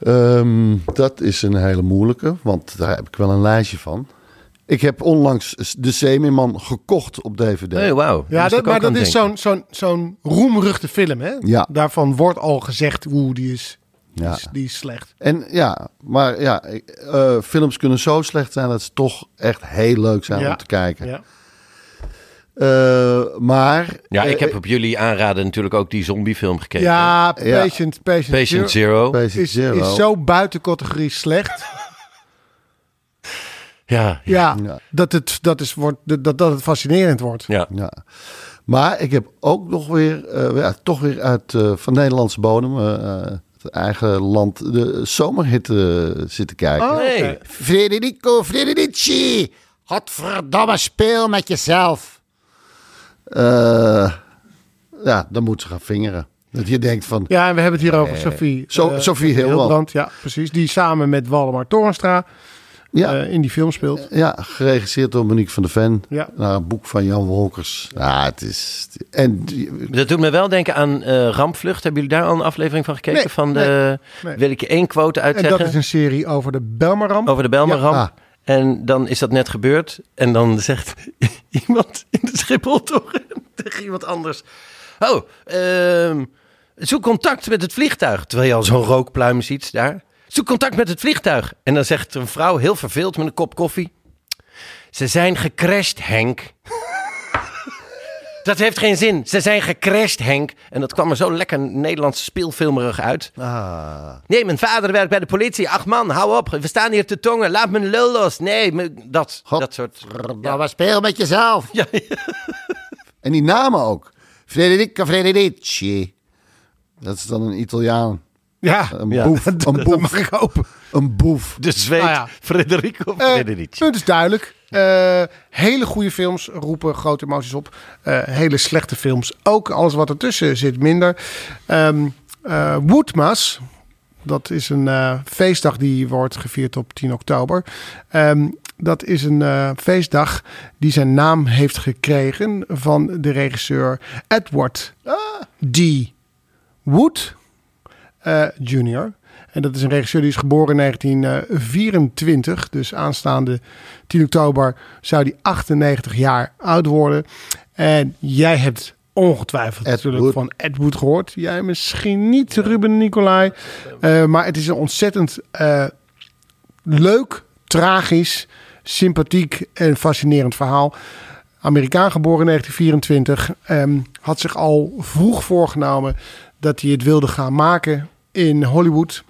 Speaker 4: Ehm, dat is een hele moeilijke, want daar heb ik wel een lijstje van. Ik heb onlangs De Zeemeerman gekocht op DVD.
Speaker 6: Hey, wauw.
Speaker 5: Ja,
Speaker 6: Moest
Speaker 5: dat,
Speaker 6: ik ook
Speaker 5: maar
Speaker 6: aan
Speaker 5: dat is
Speaker 6: denken.
Speaker 5: zo'n zo'n zo'n roemruchte film, hè?
Speaker 4: Ja.
Speaker 5: Daarvan wordt al gezegd, oeh, die is, die,
Speaker 4: Ja.
Speaker 5: is, die is slecht.
Speaker 4: En ja, maar ja, eh, films kunnen zo slecht zijn dat ze toch echt heel leuk zijn
Speaker 5: Ja.
Speaker 4: om te kijken.
Speaker 5: Ja.
Speaker 4: Eh, maar
Speaker 6: Ja, ik
Speaker 4: eh,
Speaker 6: heb op jullie aanraden natuurlijk ook die zombiefilm gekeken.
Speaker 5: Ja,
Speaker 4: Ja.
Speaker 5: Patient, Patient,
Speaker 6: Patient
Speaker 5: Zero
Speaker 6: Zero.
Speaker 4: Patient
Speaker 5: is,
Speaker 4: Zero.
Speaker 5: is zo buiten categorie slecht.
Speaker 6: Ja, ja.
Speaker 5: ja,
Speaker 4: Ja.
Speaker 5: Dat, het, dat, is, wordt, dat, dat het fascinerend wordt.
Speaker 6: ja.
Speaker 4: Ja. Maar ik heb ook nog weer, eh, ja, toch weer uit eh, van Nederlandse bodem, eh, eh, het eigen land, de zomerhit eh, zitten kijken.
Speaker 6: Nee.
Speaker 4: Frederico Frederici, godverdomme speel met jezelf. Eh, ja, dan moet ze gaan vingeren. Dat je denkt van,
Speaker 5: Ja, en we hebben het hier over Sophie.
Speaker 4: Zo-
Speaker 5: eh,
Speaker 4: Sophie Hilbrand.
Speaker 5: Ja, precies. Die samen met Waldemar Toornstra
Speaker 4: ja,
Speaker 5: eh, in die film speelt.
Speaker 4: ja, geregisseerd door Monique van der Ven.
Speaker 5: Ja.
Speaker 4: Naar een boek van Jan Wolkers. Ja, het is... En die-
Speaker 6: Dat doet me wel denken aan eh, Rampvlucht. Hebben jullie daar al een aflevering van gekeken?
Speaker 5: Nee,
Speaker 6: van de,
Speaker 5: nee.
Speaker 6: Wil ik je één quote
Speaker 5: En
Speaker 6: uitzeggen?
Speaker 5: dat is een serie over de Belmaramp.
Speaker 6: Over de Belmaramp.
Speaker 4: Ja. Ah.
Speaker 6: En dan is dat net gebeurd. En dan zegt iemand in de Schipholtoren tegen iemand anders... Oh, ehm, zoek contact met het vliegtuig. Terwijl je al zo'n rookpluim ziet daar. Zoek contact met het vliegtuig. En dan zegt een vrouw, heel verveeld, met een kop koffie... Ze zijn gecrashed, Henk. Dat heeft geen zin. Ze zijn gecrashed, Henk. En dat kwam er zo lekker Nederlands speelfilmerig uit.
Speaker 5: Ah.
Speaker 6: Nee, mijn vader werkt bij de politie. Ach man, hou op. We staan hier te tongen. Laat mijn lul los. Nee, me- dat,
Speaker 4: God.
Speaker 6: dat soort...
Speaker 4: maar speel met jezelf.
Speaker 6: Ja,
Speaker 4: En die namen ook. Frederica Frederici. Dat is dan een Italiaan.
Speaker 5: Ja,
Speaker 4: Een boef. Een
Speaker 5: dat
Speaker 4: boef.
Speaker 5: mag ik hopen.
Speaker 4: Een boef.
Speaker 6: De zweet
Speaker 5: Nou ja.
Speaker 6: Frederico
Speaker 5: Eh,
Speaker 6: Frederici.
Speaker 5: punt is duidelijk. Eh, hele goede films roepen grote emoties op. Eh, hele slechte films ook. Alles wat ertussen zit minder. Ehm eh, Woedmas. Dat is een eh, feestdag die wordt gevierd op 10 oktober. Ehm, dat is een eh, feestdag die zijn naam heeft gekregen van de regisseur Edward D. Wood eh, Jr. En dat is een regisseur die is geboren in 1924. Dus aanstaande 10 oktober zou die 98 jaar oud worden. En jij hebt ongetwijfeld
Speaker 4: Ed
Speaker 5: natuurlijk
Speaker 4: Wood.
Speaker 5: van Ed Wood gehoord. Jij misschien niet, Ruben Nicolai. Eh, maar het is een ontzettend eh, leuk, tragisch, sympathiek en fascinerend verhaal. Amerikaan geboren in 1924. ehm, had zich al vroeg voorgenomen dat hij het wilde gaan maken in Hollywood.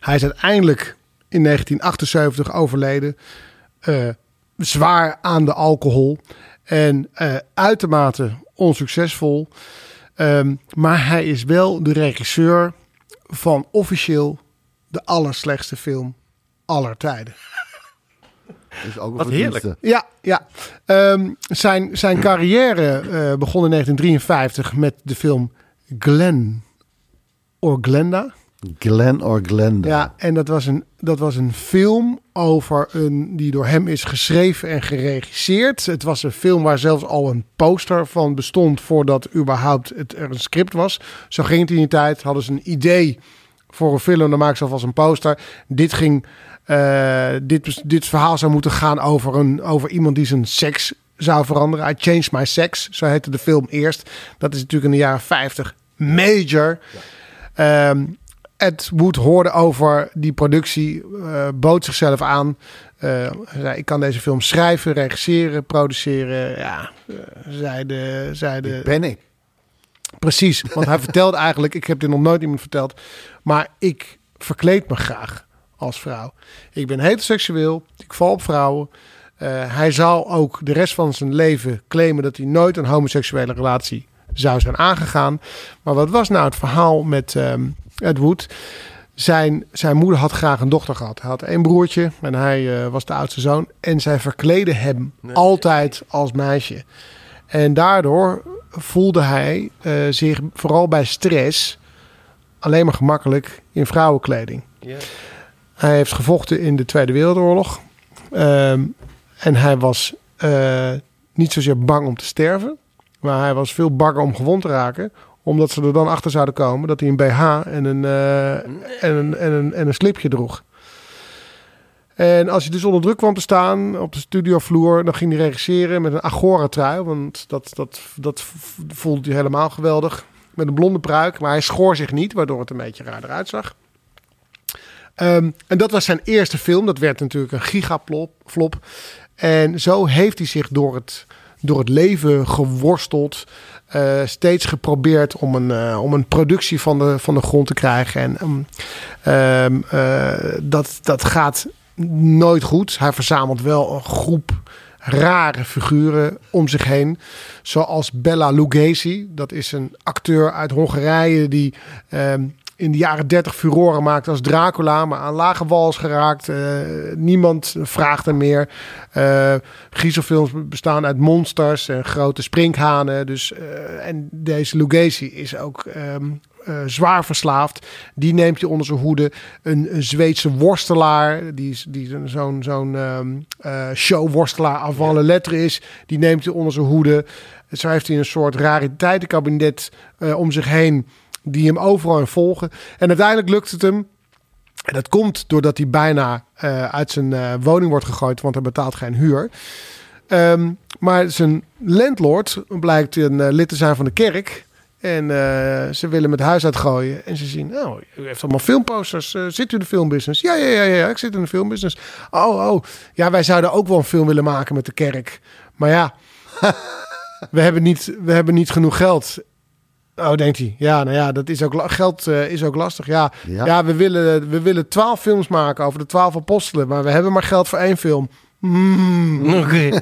Speaker 5: Hij is uiteindelijk in 1978 overleden. eh, zwaar aan de alcohol. En eh, uitermate onsuccesvol. Ehm, maar hij is wel de regisseur van officieel de allerslechtste film aller tijden.
Speaker 4: Is ook een
Speaker 6: Wat heerlijk.
Speaker 4: verdienste.
Speaker 5: Ja, ja. Ehm, zijn, zijn carrière eh, begon in 1953 met de film Glen or Glenda.
Speaker 4: Glen or Glenda.
Speaker 5: Ja, en dat was een, dat was een film over een, die door hem is geschreven en geregisseerd. Het was een film waar zelfs al een poster van bestond voordat überhaupt het, er een script was. Zo ging het in die tijd. Hadden ze een idee voor een film, dan maakten ze alvast een poster. Dit ging, eh, dit, bes- dit verhaal zou moeten gaan over, een, over iemand die zijn seks zou veranderen. I changed my sex, zo heette de film eerst. Dat is natuurlijk in de jaren 50 major. Ehm, Ed Wood hoorde over die productie, eh, bood zichzelf aan. Eh, hij zei, ik kan deze film schrijven, regisseren, produceren. Ja, eh, zei de... Zei de
Speaker 4: Dit Ben ik.
Speaker 5: Precies, want hij vertelde eigenlijk, ik heb dit nog nooit iemand verteld, maar ik verkleed me graag als vrouw. Ik ben heteroseksueel, ik val op vrouwen. Eh, hij zal ook de rest van zijn leven claimen dat hij nooit een homoseksuele relatie zou zijn aangegaan. Maar wat was nou het verhaal met ehm, Ed Wood? Zijn, zijn moeder had graag een dochter gehad. Hij had één broertje en hij eh, was de oudste zoon. En zij verkleden hem altijd als meisje. En daardoor voelde hij eh, zich vooral bij stress alleen maar gemakkelijk in vrouwenkleding. Hij heeft gevochten in de Tweede Wereldoorlog. Ehm, en hij was eh, niet zozeer bang om te sterven. Maar hij was veel banger om gewond te raken. Omdat ze er dan achter zouden komen dat hij een BH en een, eh, en een, en een, en een slipje droeg. En als je dus onder druk kwam te staan op de studiovloer, dan ging hij regisseren met een Agora-trui. Want dat, dat, dat voelde hij helemaal geweldig. Met een blonde pruik, maar hij schoor zich niet, waardoor het een beetje raar uitzag. Ehm, en dat was zijn eerste film. Dat werd natuurlijk een gigaplop. Flop. En zo heeft hij zich door het, door het leven geworsteld. eh, steeds geprobeerd om een, eh, om een productie van de, van de grond te krijgen. En ehm, ehm, eh, dat, dat gaat nooit goed. Hij verzamelt wel een groep rare figuren om zich heen. Zoals Bella Lugosi. Dat is een acteur uit Hongarije die... ehm, in de jaren 30 furoren maakte als Dracula, maar aan lage wal is geraakt. Eh, niemand vraagt hem meer. Eh griezelfilms bestaan uit monsters en grote sprinkhanen. Dus, eh, en deze Lugacy is ook ehm, eh, zwaar verslaafd. Die neemt je onder zijn hoede. Een, een Zweedse worstelaar, die, is- die zo'n zo'n ehm, eh, showworstelaar avant le lettre is, die neemt je onder zijn hoede. Zo heeft hij een soort rariteitenkabinet eh, om zich heen die hem overal in volgen. En uiteindelijk lukt het hem. En dat komt doordat hij bijna eh, uit zijn eh, woning wordt gegooid, want hij betaalt geen huur. Ehm, maar zijn landlord blijkt een eh, lid te zijn van de kerk. En eh, ze willen hem het huis uitgooien. En ze zien, nou, u heeft allemaal filmposters. Eh, zit u in de filmbusiness? Ja, ja, ja, ja, ik zit in de filmbusiness. Oh, oh, ja, wij zouden ook wel een film willen maken met de kerk. Maar ja, we, hebben niet, we hebben niet genoeg geld. Oh, denkt hij. Ja, nou ja, dat is ook la- geld eh, is ook lastig. Ja, ja.
Speaker 4: Ja.
Speaker 5: we willen we willen twaalf films maken over de twaalf apostelen, maar we hebben maar geld voor één film. Hmm,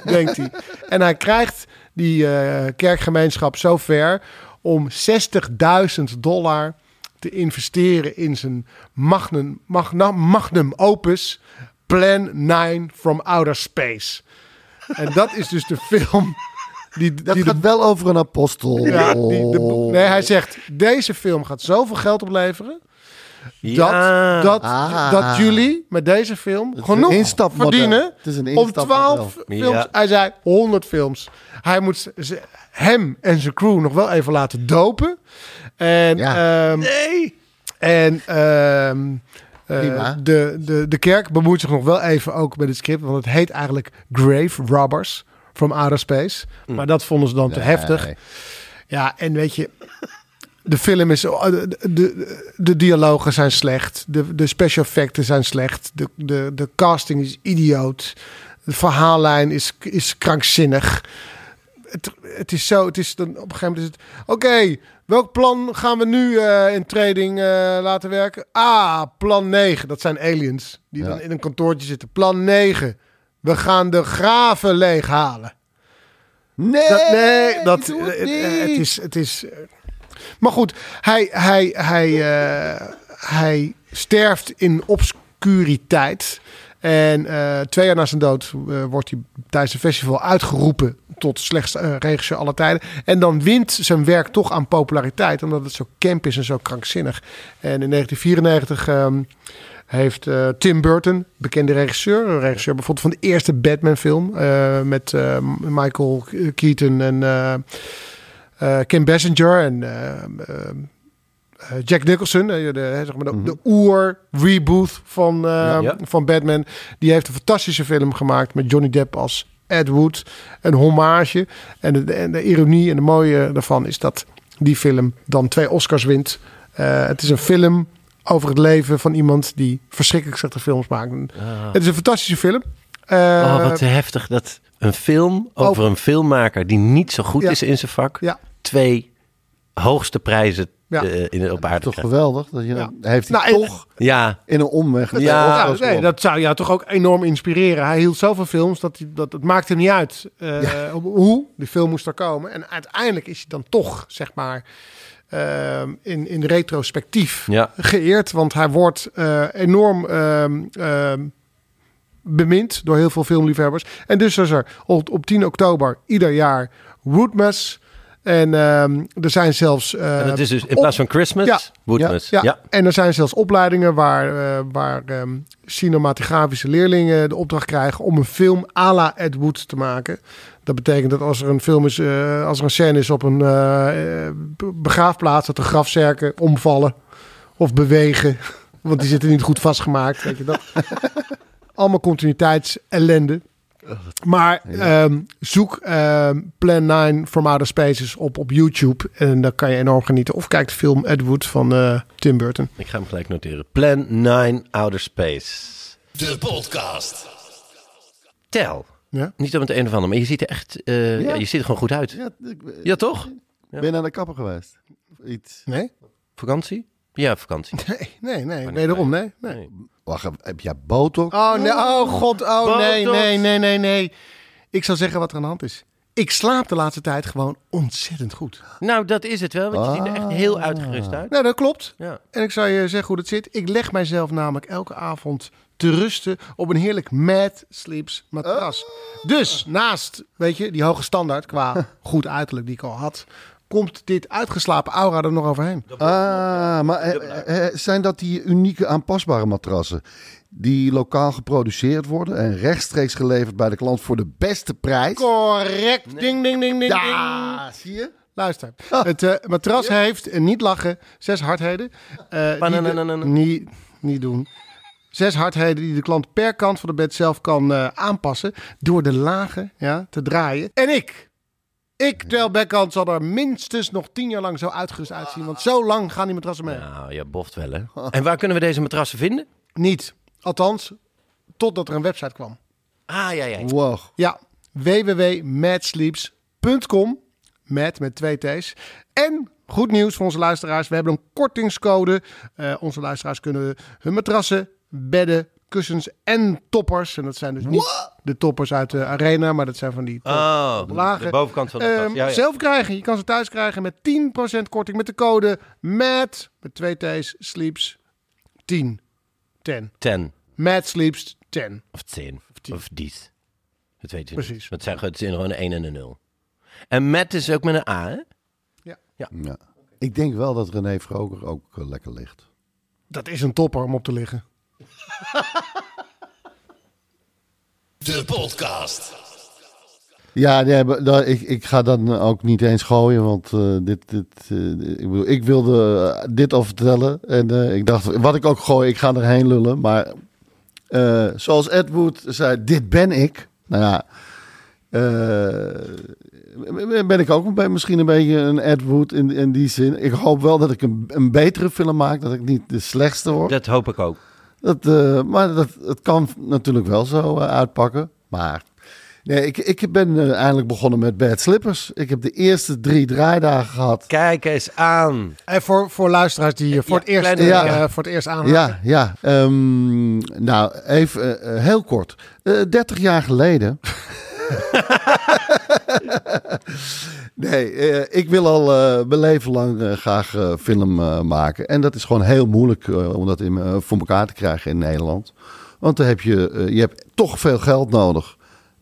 Speaker 5: denkt hij. En hij krijgt die eh, kerkgemeenschap zover om 60.000 dollar te investeren in zijn magnum, magna, magnum opus Plan 9 from Outer Space. En dat is dus de film die,
Speaker 4: Dat
Speaker 5: die de
Speaker 4: gaat wel over een apostel. Oh.
Speaker 5: ja, die, de, nee, hij zegt: deze film gaat zoveel geld opleveren.
Speaker 6: Ja.
Speaker 5: Dat, dat,
Speaker 4: Ah.
Speaker 5: dat jullie met deze film
Speaker 4: is
Speaker 5: genoeg
Speaker 4: een instapmodel.
Speaker 5: verdienen
Speaker 4: Het is een
Speaker 5: om
Speaker 4: instapmodel.
Speaker 5: 12 films.
Speaker 6: Ja.
Speaker 5: Hij zei 100 films. Hij moet z- z- hem en zijn crew nog wel even laten dopen. En,
Speaker 4: Ja.
Speaker 5: ehm, en ehm, eh,
Speaker 4: Prima.
Speaker 5: de, de, de kerk bemoeit zich nog wel even ook met het script. Want het heet eigenlijk Grave Robbers from Outer Space. Maar dat vonden ze dan te heftig. Ja, en weet je, de film is. oh, De, de, de dialogen zijn slecht. De, de special effecten zijn slecht. De, de, de casting is idioot. De verhaallijn is, is krankzinnig. Het, het is zo. Het is dan, op een gegeven moment is het. Oké, welk plan gaan we nu eh, in trading eh, laten werken? Ah, plan 9. Dat zijn aliens die
Speaker 4: Ja.
Speaker 5: dan in een kantoortje zitten. Plan 9. We gaan de graven leeghalen.
Speaker 4: Nee,
Speaker 5: Dat, nee, dat,
Speaker 4: doe het
Speaker 5: het, het
Speaker 4: niet.
Speaker 5: is, het is. eh, Maar goed, hij, hij, hij, eh, hij sterft in obscuriteit. En eh, twee jaar na zijn dood eh, wordt hij tijdens een festival uitgeroepen tot slechtste eh, regisseur aller tijden. En dan wint zijn werk toch aan populariteit, omdat het zo camp is en zo krankzinnig. En in 1994 ehm, heeft eh, Tim Burton, bekende regisseur, een regisseur bijvoorbeeld van de eerste Batman-film eh, met eh, Michael Keaton en eh, eh, Kim Basinger en eh, eh, eh, Jack Nicholson, eh, de, eh, zeg maar de, de oer-reboot van, eh,
Speaker 6: Mhm. ja.
Speaker 5: van Batman. Die heeft een fantastische film gemaakt met Johnny Depp als Ed Wood. Een hommage. En de, en de ironie en de mooie daarvan is dat die film dan twee Oscars wint. Eh, het is een film over het leven van iemand die verschrikkelijk slechte films maakt. Het is een fantastische film. Eh,
Speaker 6: Ah.
Speaker 5: Oh.
Speaker 6: oh, wat heftig dat een film over een filmmaker die niet zo goed
Speaker 5: Ja.
Speaker 6: is in zijn vak,
Speaker 5: Ja.
Speaker 6: twee hoogste prijzen
Speaker 5: Ja.
Speaker 6: eh, in, op aarde
Speaker 4: Toch
Speaker 6: krijgt.
Speaker 4: geweldig. Dat je,
Speaker 5: Ja.
Speaker 4: Heeft hij
Speaker 5: Nou, en-
Speaker 4: toch
Speaker 6: Ja,
Speaker 4: in een omweg.
Speaker 6: Ja,
Speaker 4: de
Speaker 5: Ja,
Speaker 4: Oscars
Speaker 5: nee,
Speaker 4: gewonnen.
Speaker 5: dat zou jou toch ook enorm inspireren. Hij hield zoveel films dat, hij, dat het maakt hem niet uit eh, hoe de film moest er komen. En uiteindelijk is hij dan toch, zeg maar, ehm, in, in retrospectief
Speaker 6: Ja.
Speaker 5: geëerd. Want hij wordt eh, enorm ehm, ehm, bemind door heel veel filmliefhebbers. En dus is er op, op 10 oktober ieder jaar Woodmas. En ehm, er zijn zelfs. eh,
Speaker 6: en dat is dus in plaats van Christmas,
Speaker 5: Ja.
Speaker 6: Woodmas.
Speaker 5: ja,
Speaker 6: Ja.
Speaker 5: en er zijn zelfs opleidingen waar, eh, waar ehm, cinematografische leerlingen de opdracht krijgen om een film à la Ed Wood te maken. Dat betekent dat als er een film is, eh, als er een scène is op een eh, eh, be- begraafplaats, dat de grafzerken omvallen of bewegen. Want die zitten niet goed vastgemaakt. Weet je dat? Allemaal continuïteitsellende. Maar ehm, zoek ehm, Plan 9 from Outer Spaces op op YouTube. En daar kan je enorm genieten. Of kijk de film Ed Wood van eh, Tim Burton.
Speaker 6: Ik ga hem gelijk noteren. Plan 9 Outer Space.
Speaker 9: De podcast.
Speaker 6: Tel.
Speaker 5: Ja?
Speaker 6: Niet om het een of ander, maar je ziet er echt eh, ja. je ziet er gewoon goed uit. Ja,
Speaker 4: Ja, ik ben-
Speaker 6: toch?
Speaker 4: ben je naar de kapper geweest? Of Iets.
Speaker 5: Nee?
Speaker 6: Vakantie? Ja, vakantie.
Speaker 5: Nee, nee, Oh, nee. Wederom, nee. nee.
Speaker 4: Wacht, heb jij botox?
Speaker 5: Oh, nee. oh god, oh nee,
Speaker 6: Botox.
Speaker 5: nee, nee, nee, nee. Ik zal zeggen wat er aan de hand is. Ik slaap de laatste tijd gewoon ontzettend goed.
Speaker 6: Nou, dat is het wel, want je ziet er
Speaker 5: Ah.
Speaker 6: echt heel uitgerust uit.
Speaker 5: Nou, dat klopt.
Speaker 6: Ja.
Speaker 5: En ik zou je zeggen hoe dat zit. Ik leg mijzelf namelijk elke avond te rusten op een heerlijk Mad Sleeps matras. Dus naast, weet je, die hoge standaard qua goed uiterlijk die ik al had, komt dit uitgeslapen aura er nog overheen.
Speaker 4: Ah, maar eh, eh, zijn dat die unieke aanpasbare matrassen? Die lokaal geproduceerd worden en rechtstreeks geleverd bij de klant voor de beste prijs?
Speaker 5: Correct. Ding, ding, ding, ding, ding.
Speaker 4: Ja, zie je?
Speaker 5: Luister, het eh, matras heeft, en niet lachen, zes hardheden. Eh, die de-
Speaker 6: Bananananana.
Speaker 5: niet, niet doen. Zes hardheden die de klant per kant van de bed zelf kan eh, aanpassen. Door de lagen ja, te draaien. En ik, ik, Tel Beckhand, zal er minstens nog tien jaar lang zo uitgerust uitzien. Want zo lang gaan die matrassen mee.
Speaker 6: Nou, je boft wel, hè? En waar kunnen we deze matrassen vinden?
Speaker 5: Niet. Althans, totdat er een website kwam.
Speaker 6: Ah, ja, ja.
Speaker 4: Wow.
Speaker 5: Ja, www.madsleeps.com. Mad met twee T's. En goed nieuws voor onze luisteraars. We hebben een kortingscode. Eh, onze luisteraars kunnen hun matrassen, bedden, kussens en toppers. En dat zijn dus niet de toppers uit de arena, maar dat zijn van die top-
Speaker 6: Oh,
Speaker 5: lagen.
Speaker 6: de bovenkant van de matras.
Speaker 5: Ehm,
Speaker 6: Ja, ja.
Speaker 5: Zelf krijgen. Je kan ze thuis krijgen met 10% korting met de code MAD met twee T's sleeps 10. 10.
Speaker 6: Ten
Speaker 5: Mad sleeps 10.
Speaker 6: of tien
Speaker 5: tien.
Speaker 6: of dies. Dat weet je
Speaker 5: Precies.
Speaker 6: niet. Het zijn gewoon- het zijn gewoon een 1 en een 0. En met is ook met een A, hè?
Speaker 4: Ja. Ik denk wel dat René Vroger ook eh, lekker ligt.
Speaker 5: Dat is een topper om op te liggen.
Speaker 9: De podcast.
Speaker 4: Ja, nee, maar daar- ik, ik ga dan ook niet eens gooien, want eh, dit, dit, eh, ik, bedoel, ik wilde eh, dit al vertellen. En eh, ik dacht, wat ik ook gooi, ik ga erheen lullen. Maar eh, zoals Ed Wood zei, dit ben ik. Nou ja, eh, ben ik ook een be- misschien een beetje een Ed Wood in, in die zin. Ik hoop wel dat ik een, een betere film maak, dat ik niet de slechtste word.
Speaker 6: Dat hoop ik ook.
Speaker 4: Dat, eh, maar dat, het kan natuurlijk wel zo eh, uitpakken. Maar nee, ik, ik ben eh, eindelijk begonnen met Bad Slippers. Ik heb de eerste drie draaidagen gehad.
Speaker 6: Kijk eens aan.
Speaker 5: En Eh, voor, voor luisteraars die eh, voor, het eerst,
Speaker 6: kleine-
Speaker 5: eh,
Speaker 4: ja.
Speaker 5: eh, voor het eerst aanhaken.
Speaker 4: Ja, ja. ehm, nou, even eh, eh, heel kort. Eh 30 jaar geleden. nee, eh, ik wil al eh, mijn leven lang eh, graag eh, film eh, maken. En dat is gewoon heel moeilijk eh, om dat in, eh, voor elkaar te krijgen in Nederland. Want dan heb je, eh, je hebt toch veel geld nodig.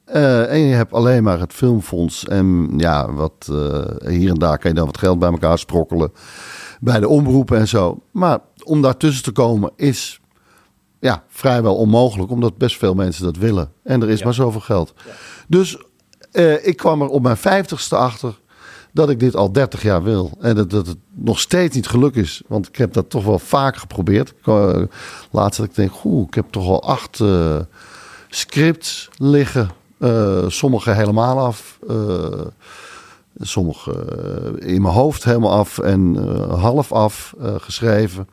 Speaker 4: Eh, en je hebt alleen maar het filmfonds. En ja, wat, eh, hier en daar kan je dan wat geld bij elkaar sprokkelen bij de omroepen en zo. Maar om daartussen te komen is ja, vrijwel onmogelijk, omdat best veel mensen dat willen. En er is maar zoveel geld. Dus eh, ik kwam er op mijn vijftigste achter dat ik dit al 30 jaar wil. En dat, dat het nog steeds niet geluk is. Want ik heb dat toch wel vaak geprobeerd. Ik, eh, laatst dat ik denk, goh, ik heb toch al acht eh, scripts liggen. Eh, sommige helemaal af. eh, sommige eh, in mijn hoofd helemaal af en eh, half af eh, geschreven.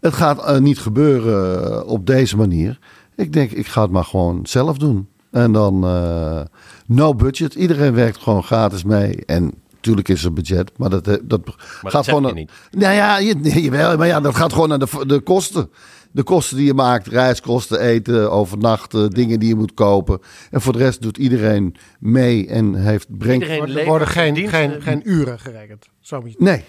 Speaker 4: Het gaat eh, niet gebeuren eh, op deze manier. Ik denk, ik ga het maar gewoon zelf doen. En dan eh, no budget. Iedereen werkt gewoon gratis mee. En natuurlijk is er budget, maar dat, eh, dat gaat
Speaker 6: dat zeg
Speaker 4: gewoon.
Speaker 6: je
Speaker 4: aan-
Speaker 6: niet.
Speaker 4: Nou ja, je, nee, jawel, maar ja, dat gaat gewoon naar de, de kosten. De kosten die je maakt, reiskosten, eten, overnachten, dingen die je moet kopen. En voor de rest doet iedereen mee en heeft, brengt
Speaker 6: Iedereen
Speaker 5: Er
Speaker 6: levert
Speaker 5: worden geen,
Speaker 6: diensten.
Speaker 5: geen, geen uren gerekend. Zo moet je-
Speaker 4: Nee.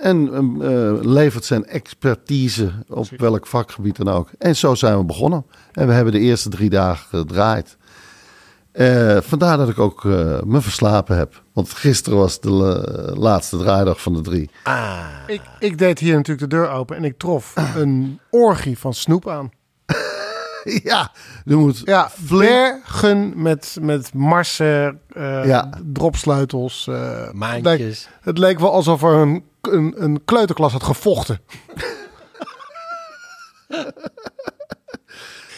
Speaker 4: En ehm, eh, levert zijn expertise op welk vakgebied dan ook. En zo zijn we begonnen. En we hebben de eerste drie dagen gedraaid. Eh, vandaar dat ik ook eh, me verslapen heb. Want gisteren was de la- laatste draaidag van de drie.
Speaker 5: Ik, ik deed hier natuurlijk de deur open en ik trof een orgie van snoep aan.
Speaker 4: ja, er moet
Speaker 5: Ja,
Speaker 4: flink-
Speaker 5: bergen met, met marsen, eh,
Speaker 4: Ja.
Speaker 5: dropsleutels. eh,
Speaker 6: Maandjes.
Speaker 5: Het leek, het leek wel alsof er een, een, een kleuterklas had gevochten.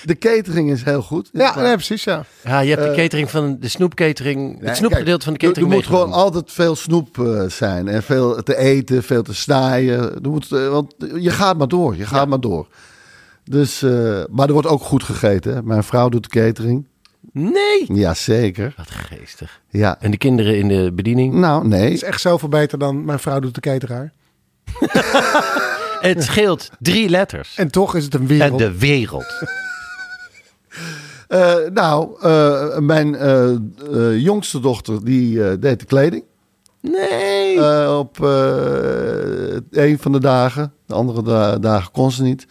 Speaker 4: De catering is heel goed.
Speaker 5: Ja, nee, precies, ja.
Speaker 6: Ja, je hebt de catering van de snoepcatering.
Speaker 4: Nee,
Speaker 6: Het snoepgedeelte van de
Speaker 4: kijk,
Speaker 6: catering.
Speaker 4: Er, er moet gewoon
Speaker 6: meegenomen.
Speaker 4: altijd veel snoep eh, zijn. En veel te eten, veel te snijden. Er moet, eh, want je gaat maar door. Je gaat maar door. Dus, eh, maar er wordt ook goed gegeten. Hè? Mijn vrouw doet de catering.
Speaker 6: Nee!
Speaker 4: Jazeker.
Speaker 6: Wat geestig.
Speaker 4: Ja.
Speaker 6: En de kinderen in de bediening.
Speaker 4: Nou, nee.
Speaker 5: Het is echt zoveel beter dan mijn vrouw doet de cateraar.
Speaker 6: Het scheelt drie letters.
Speaker 5: En toch is het een
Speaker 6: En
Speaker 5: wereld.
Speaker 6: de wereld.
Speaker 4: Eh, nou, eh, mijn eh, eh, jongste dochter die eh, deed de kleding.
Speaker 6: Nee!
Speaker 4: Eh, op eh, een van de dagen. De andere da- dagen kon ze niet.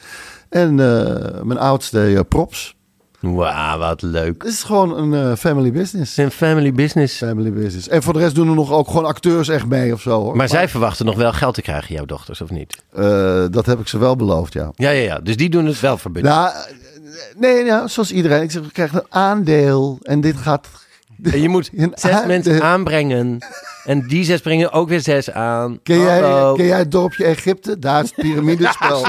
Speaker 4: En eh, mijn oudste deed, eh, props.
Speaker 6: Wauw, wat leuk.
Speaker 4: Het is gewoon een eh, family business.
Speaker 6: Zijn family business.
Speaker 4: Family business. En voor de rest doen er nog ook gewoon acteurs echt mee of zo. Hoor.
Speaker 6: Maar zij verwachten nog wel geld te krijgen, jouw dochters, of niet?
Speaker 4: Eh, dat heb ik ze wel beloofd, ja.
Speaker 6: Ja, ja, ja. Dus die doen het wel voor budget.
Speaker 4: Nou, eh, nee, ja, zoals iedereen. Ik zeg, we krijgen een aandeel. En dit gaat...
Speaker 6: En je moet
Speaker 4: Een
Speaker 6: zes
Speaker 4: aande-
Speaker 6: mensen aanbrengen. En die zes brengen ook weer zes aan.
Speaker 4: Ken jij,
Speaker 6: Hallo.
Speaker 4: ken jij het dorpje Egypte? Daar is het piramidespel.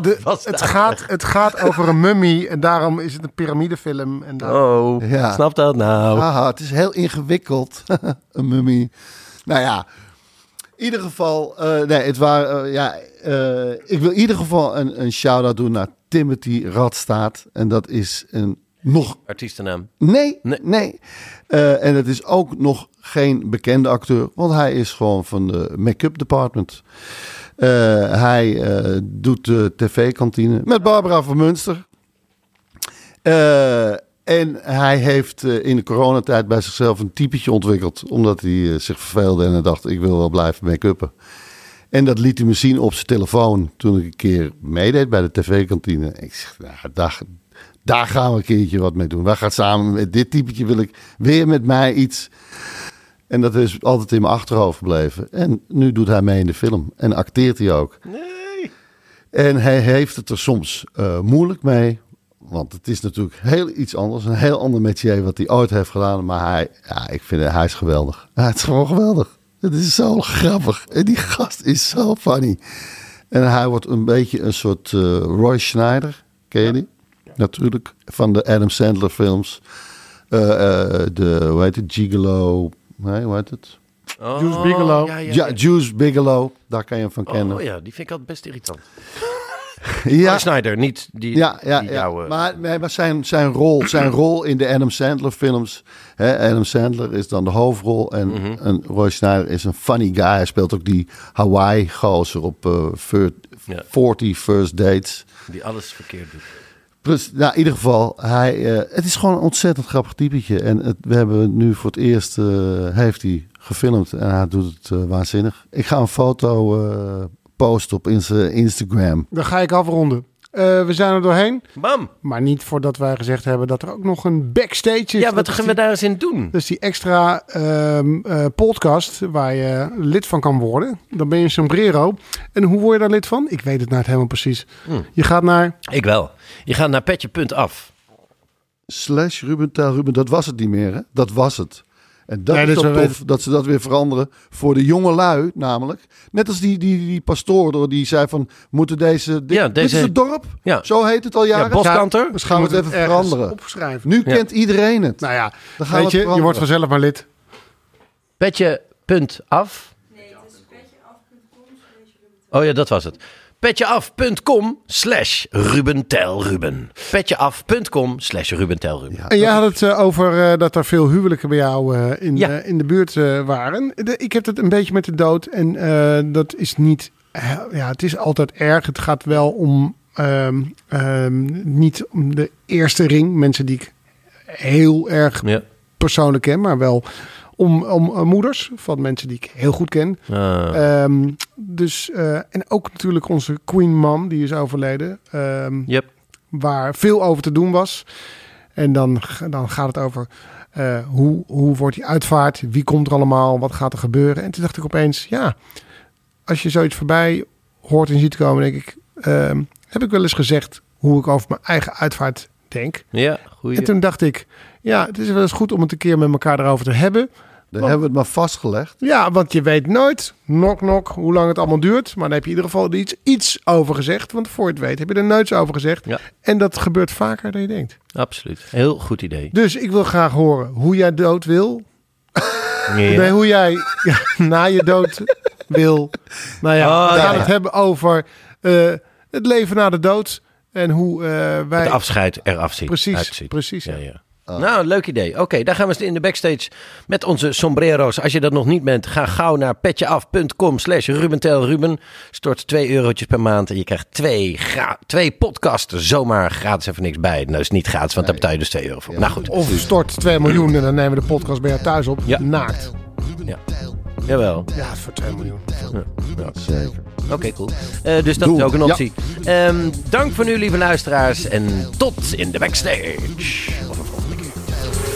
Speaker 6: Dat was
Speaker 5: Het gaat, het gaat over een mummie en daarom is het een piramidefilm. En daar-
Speaker 6: Oh,
Speaker 4: Ja. Ah.
Speaker 6: snap dat nou?
Speaker 4: Haha, het is heel ingewikkeld. een mummie. Nou ja, in ieder geval. eh, nee, het waren. eh, ja, eh, ik wil in ieder geval een, een shout-out doen naar Timothy Radstaat. En dat is een nog.
Speaker 6: Artiestennaam.
Speaker 4: Nee,
Speaker 6: Nee.
Speaker 4: nee. Eh, en het is ook nog geen bekende acteur, want hij is gewoon van de make-up department. Eh, hij eh, doet de tv-kantine met Barbara van Munster. Eh, en hij heeft eh, in de coronatijd bij zichzelf een typetje ontwikkeld. Omdat hij eh, zich verveelde en hij dacht, ik wil wel blijven make-uppen. En dat liet hij me zien op zijn telefoon toen ik een keer meedeed bij de tv-kantine. Ik zeg, nou, daar, daar gaan we een keertje wat mee doen. Wij gaan samen met dit typetje, wil ik weer met mij iets. En dat is altijd in mijn achterhoofd gebleven. En nu doet hij mee in de film en acteert hij ook. En hij heeft het er soms eh, moeilijk mee. Want het is natuurlijk heel iets anders. Een heel ander métier wat hij ooit heeft gedaan. Maar hij, ja, ik vind hij is geweldig. Hij is gewoon geweldig. Het is zo grappig. En die gast is zo funny. En hij wordt een beetje een soort eh, Roy Schneider. Ken je die? Natuurlijk. Van de Adam Sandler films. Eh, eh, de, hoe heet het? Gigolo. Nee, hoe heet het?
Speaker 6: Oh,
Speaker 5: Juice Bigelow.
Speaker 6: Ja, ja,
Speaker 4: Ja,
Speaker 6: ja.
Speaker 4: Juice Bigelow. Daar kan je hem van kennen.
Speaker 6: Oh ja, die vind ik altijd best irritant.
Speaker 4: Ja.
Speaker 6: Roy Snyder, niet die,
Speaker 4: Ja, ja,
Speaker 6: die eh,
Speaker 4: ja.
Speaker 6: jouwe-
Speaker 4: maar, nee, maar zijn, zijn, rol, zijn rol in de Adam Sandler films. Hè, Adam Sandler is dan de hoofdrol. En,
Speaker 6: Mhm.
Speaker 4: en Roy Schneider is een funny guy. Hij speelt ook die Hawaii-gozer op eh, fir-
Speaker 6: Ja.
Speaker 4: 40 First Dates.
Speaker 6: die alles verkeerd doet.
Speaker 4: Plus, nou, in ieder geval, hij, eh, het is gewoon een ontzettend grappig typetje. En het, we hebben nu voor het eerst, eh, heeft hij gefilmd en hij doet het eh, waanzinnig. Ik ga een foto eh, posten op Insta- Instagram.
Speaker 5: Dan ga ik afronden. Eh, we zijn er doorheen.
Speaker 6: Bam!
Speaker 5: Maar niet voordat wij gezegd hebben dat er ook nog een backstage is.
Speaker 6: Ja, wat
Speaker 5: Dat is
Speaker 6: gaan we
Speaker 5: die-
Speaker 6: daar eens in doen?
Speaker 5: Dat is die extra ehm, eh, podcast waar je lid van kan worden. Dan ben je een sombrero. En hoe word je daar lid van? Ik weet het nou helemaal precies.
Speaker 6: Hm.
Speaker 5: Je gaat naar...
Speaker 6: Ik wel. Je gaat naar petje.af.
Speaker 4: slash Ruben tel Ruben. Dat was het niet meer, hè? Dat was het. En dat
Speaker 5: Nee,
Speaker 4: is
Speaker 5: dus
Speaker 4: toch
Speaker 5: we
Speaker 4: tof
Speaker 5: weten-
Speaker 4: dat ze dat weer veranderen voor de jonge lui, namelijk. Net als die, die, die pastoor door die zei van, moeten deze... Dit,
Speaker 6: Ja,
Speaker 4: dit
Speaker 6: deze-
Speaker 4: is het dorp,
Speaker 6: Ja.
Speaker 4: zo heet het al jaren.
Speaker 6: Ja, Boskanter.
Speaker 4: Dus gaan we het even
Speaker 5: ergens
Speaker 4: veranderen.
Speaker 5: Opschrijven.
Speaker 4: Nu kent iedereen het.
Speaker 5: Nou ja,
Speaker 4: Dan gaan we het
Speaker 5: weet je, je
Speaker 4: veranderen.
Speaker 5: wordt vanzelf maar lid.
Speaker 6: Petje.af. Oh ja, dat was het. Petjeaf.com slash Ruben Tel Ruben. Petjeaf.com slash Ruben Tel Ruben.
Speaker 5: En jij had het eh, over eh, dat er veel huwelijken bij jou eh, in,
Speaker 6: Ja.
Speaker 5: eh, in de buurt eh, waren. De- ik heb het een beetje met de dood. En eh, dat is niet. eh, ja, het is altijd erg. Het gaat wel om. ehm, ehm, niet om de eerste ring. Mensen die ik heel erg
Speaker 6: Ja.
Speaker 5: persoonlijk ken. Maar wel om, om eh, moeders van mensen die ik heel goed ken.
Speaker 6: Ah.
Speaker 5: Ehm, dus, eh, en ook natuurlijk onze Queen Mom, die is overleden. Ehm,
Speaker 6: Yep.
Speaker 5: waar veel over te doen was. En dan, g- dan gaat het over eh, hoe, hoe wordt die uitvaart? Wie komt er allemaal? Wat gaat er gebeuren? En toen dacht ik opeens, ja, als je zoiets voorbij hoort en ziet komen, denk ik, ehm, heb ik wel eens gezegd hoe ik over mijn eigen uitvaart denk.
Speaker 6: Ja,
Speaker 5: En
Speaker 6: goeie.
Speaker 5: toen dacht ik, ja, het is wel eens goed om het een keer met elkaar erover te hebben.
Speaker 4: Daar hebben we het maar vastgelegd.
Speaker 5: Ja, want je weet nooit, nok nok, hoe lang het allemaal duurt. Maar dan heb je in ieder geval iets, iets over gezegd. Want voor het weet heb je er nooit over gezegd.
Speaker 6: Ja.
Speaker 5: En dat gebeurt vaker dan je denkt.
Speaker 6: Absoluut. Heel goed idee.
Speaker 5: Dus ik wil graag horen hoe jij dood wil.
Speaker 6: Ja.
Speaker 5: Nee, hoe jij ja, na je dood wil. Nou ja,
Speaker 6: Oh,
Speaker 5: we gaan
Speaker 6: ja.
Speaker 5: het hebben over eh, het leven na de dood. En hoe eh, wij...
Speaker 6: Het afscheid eraf ziet.
Speaker 5: Precies,
Speaker 6: uitziet.
Speaker 5: precies,
Speaker 6: Ja,
Speaker 5: ja.
Speaker 6: ja.
Speaker 4: Ah.
Speaker 6: Nou, leuk idee. Oké, daar gaan we eens in de backstage met onze sombrero's. Als je dat nog niet bent, ga gauw naar petjeaf.com slash rubentelruben. Stort 2 eurotjes per maand en je krijgt twee, gra- twee podcasten zomaar gratis even niks bij. Nou, dat is niet gratis, want daar betaal je dus 2 euro voor. Nou goed,
Speaker 5: Of stort 2 miljoen en dan nemen we de podcast bij jou thuis op.
Speaker 6: Ja.
Speaker 5: Naakt.
Speaker 6: jawel.
Speaker 5: Ja, voor 2 miljoen.
Speaker 4: Zeker.
Speaker 6: Oké, cool. Eh, dus dat
Speaker 4: Doe.
Speaker 6: is ook een
Speaker 4: Ja.
Speaker 6: optie. Ehm, dank voor nu, lieve luisteraars. En tot in de backstage.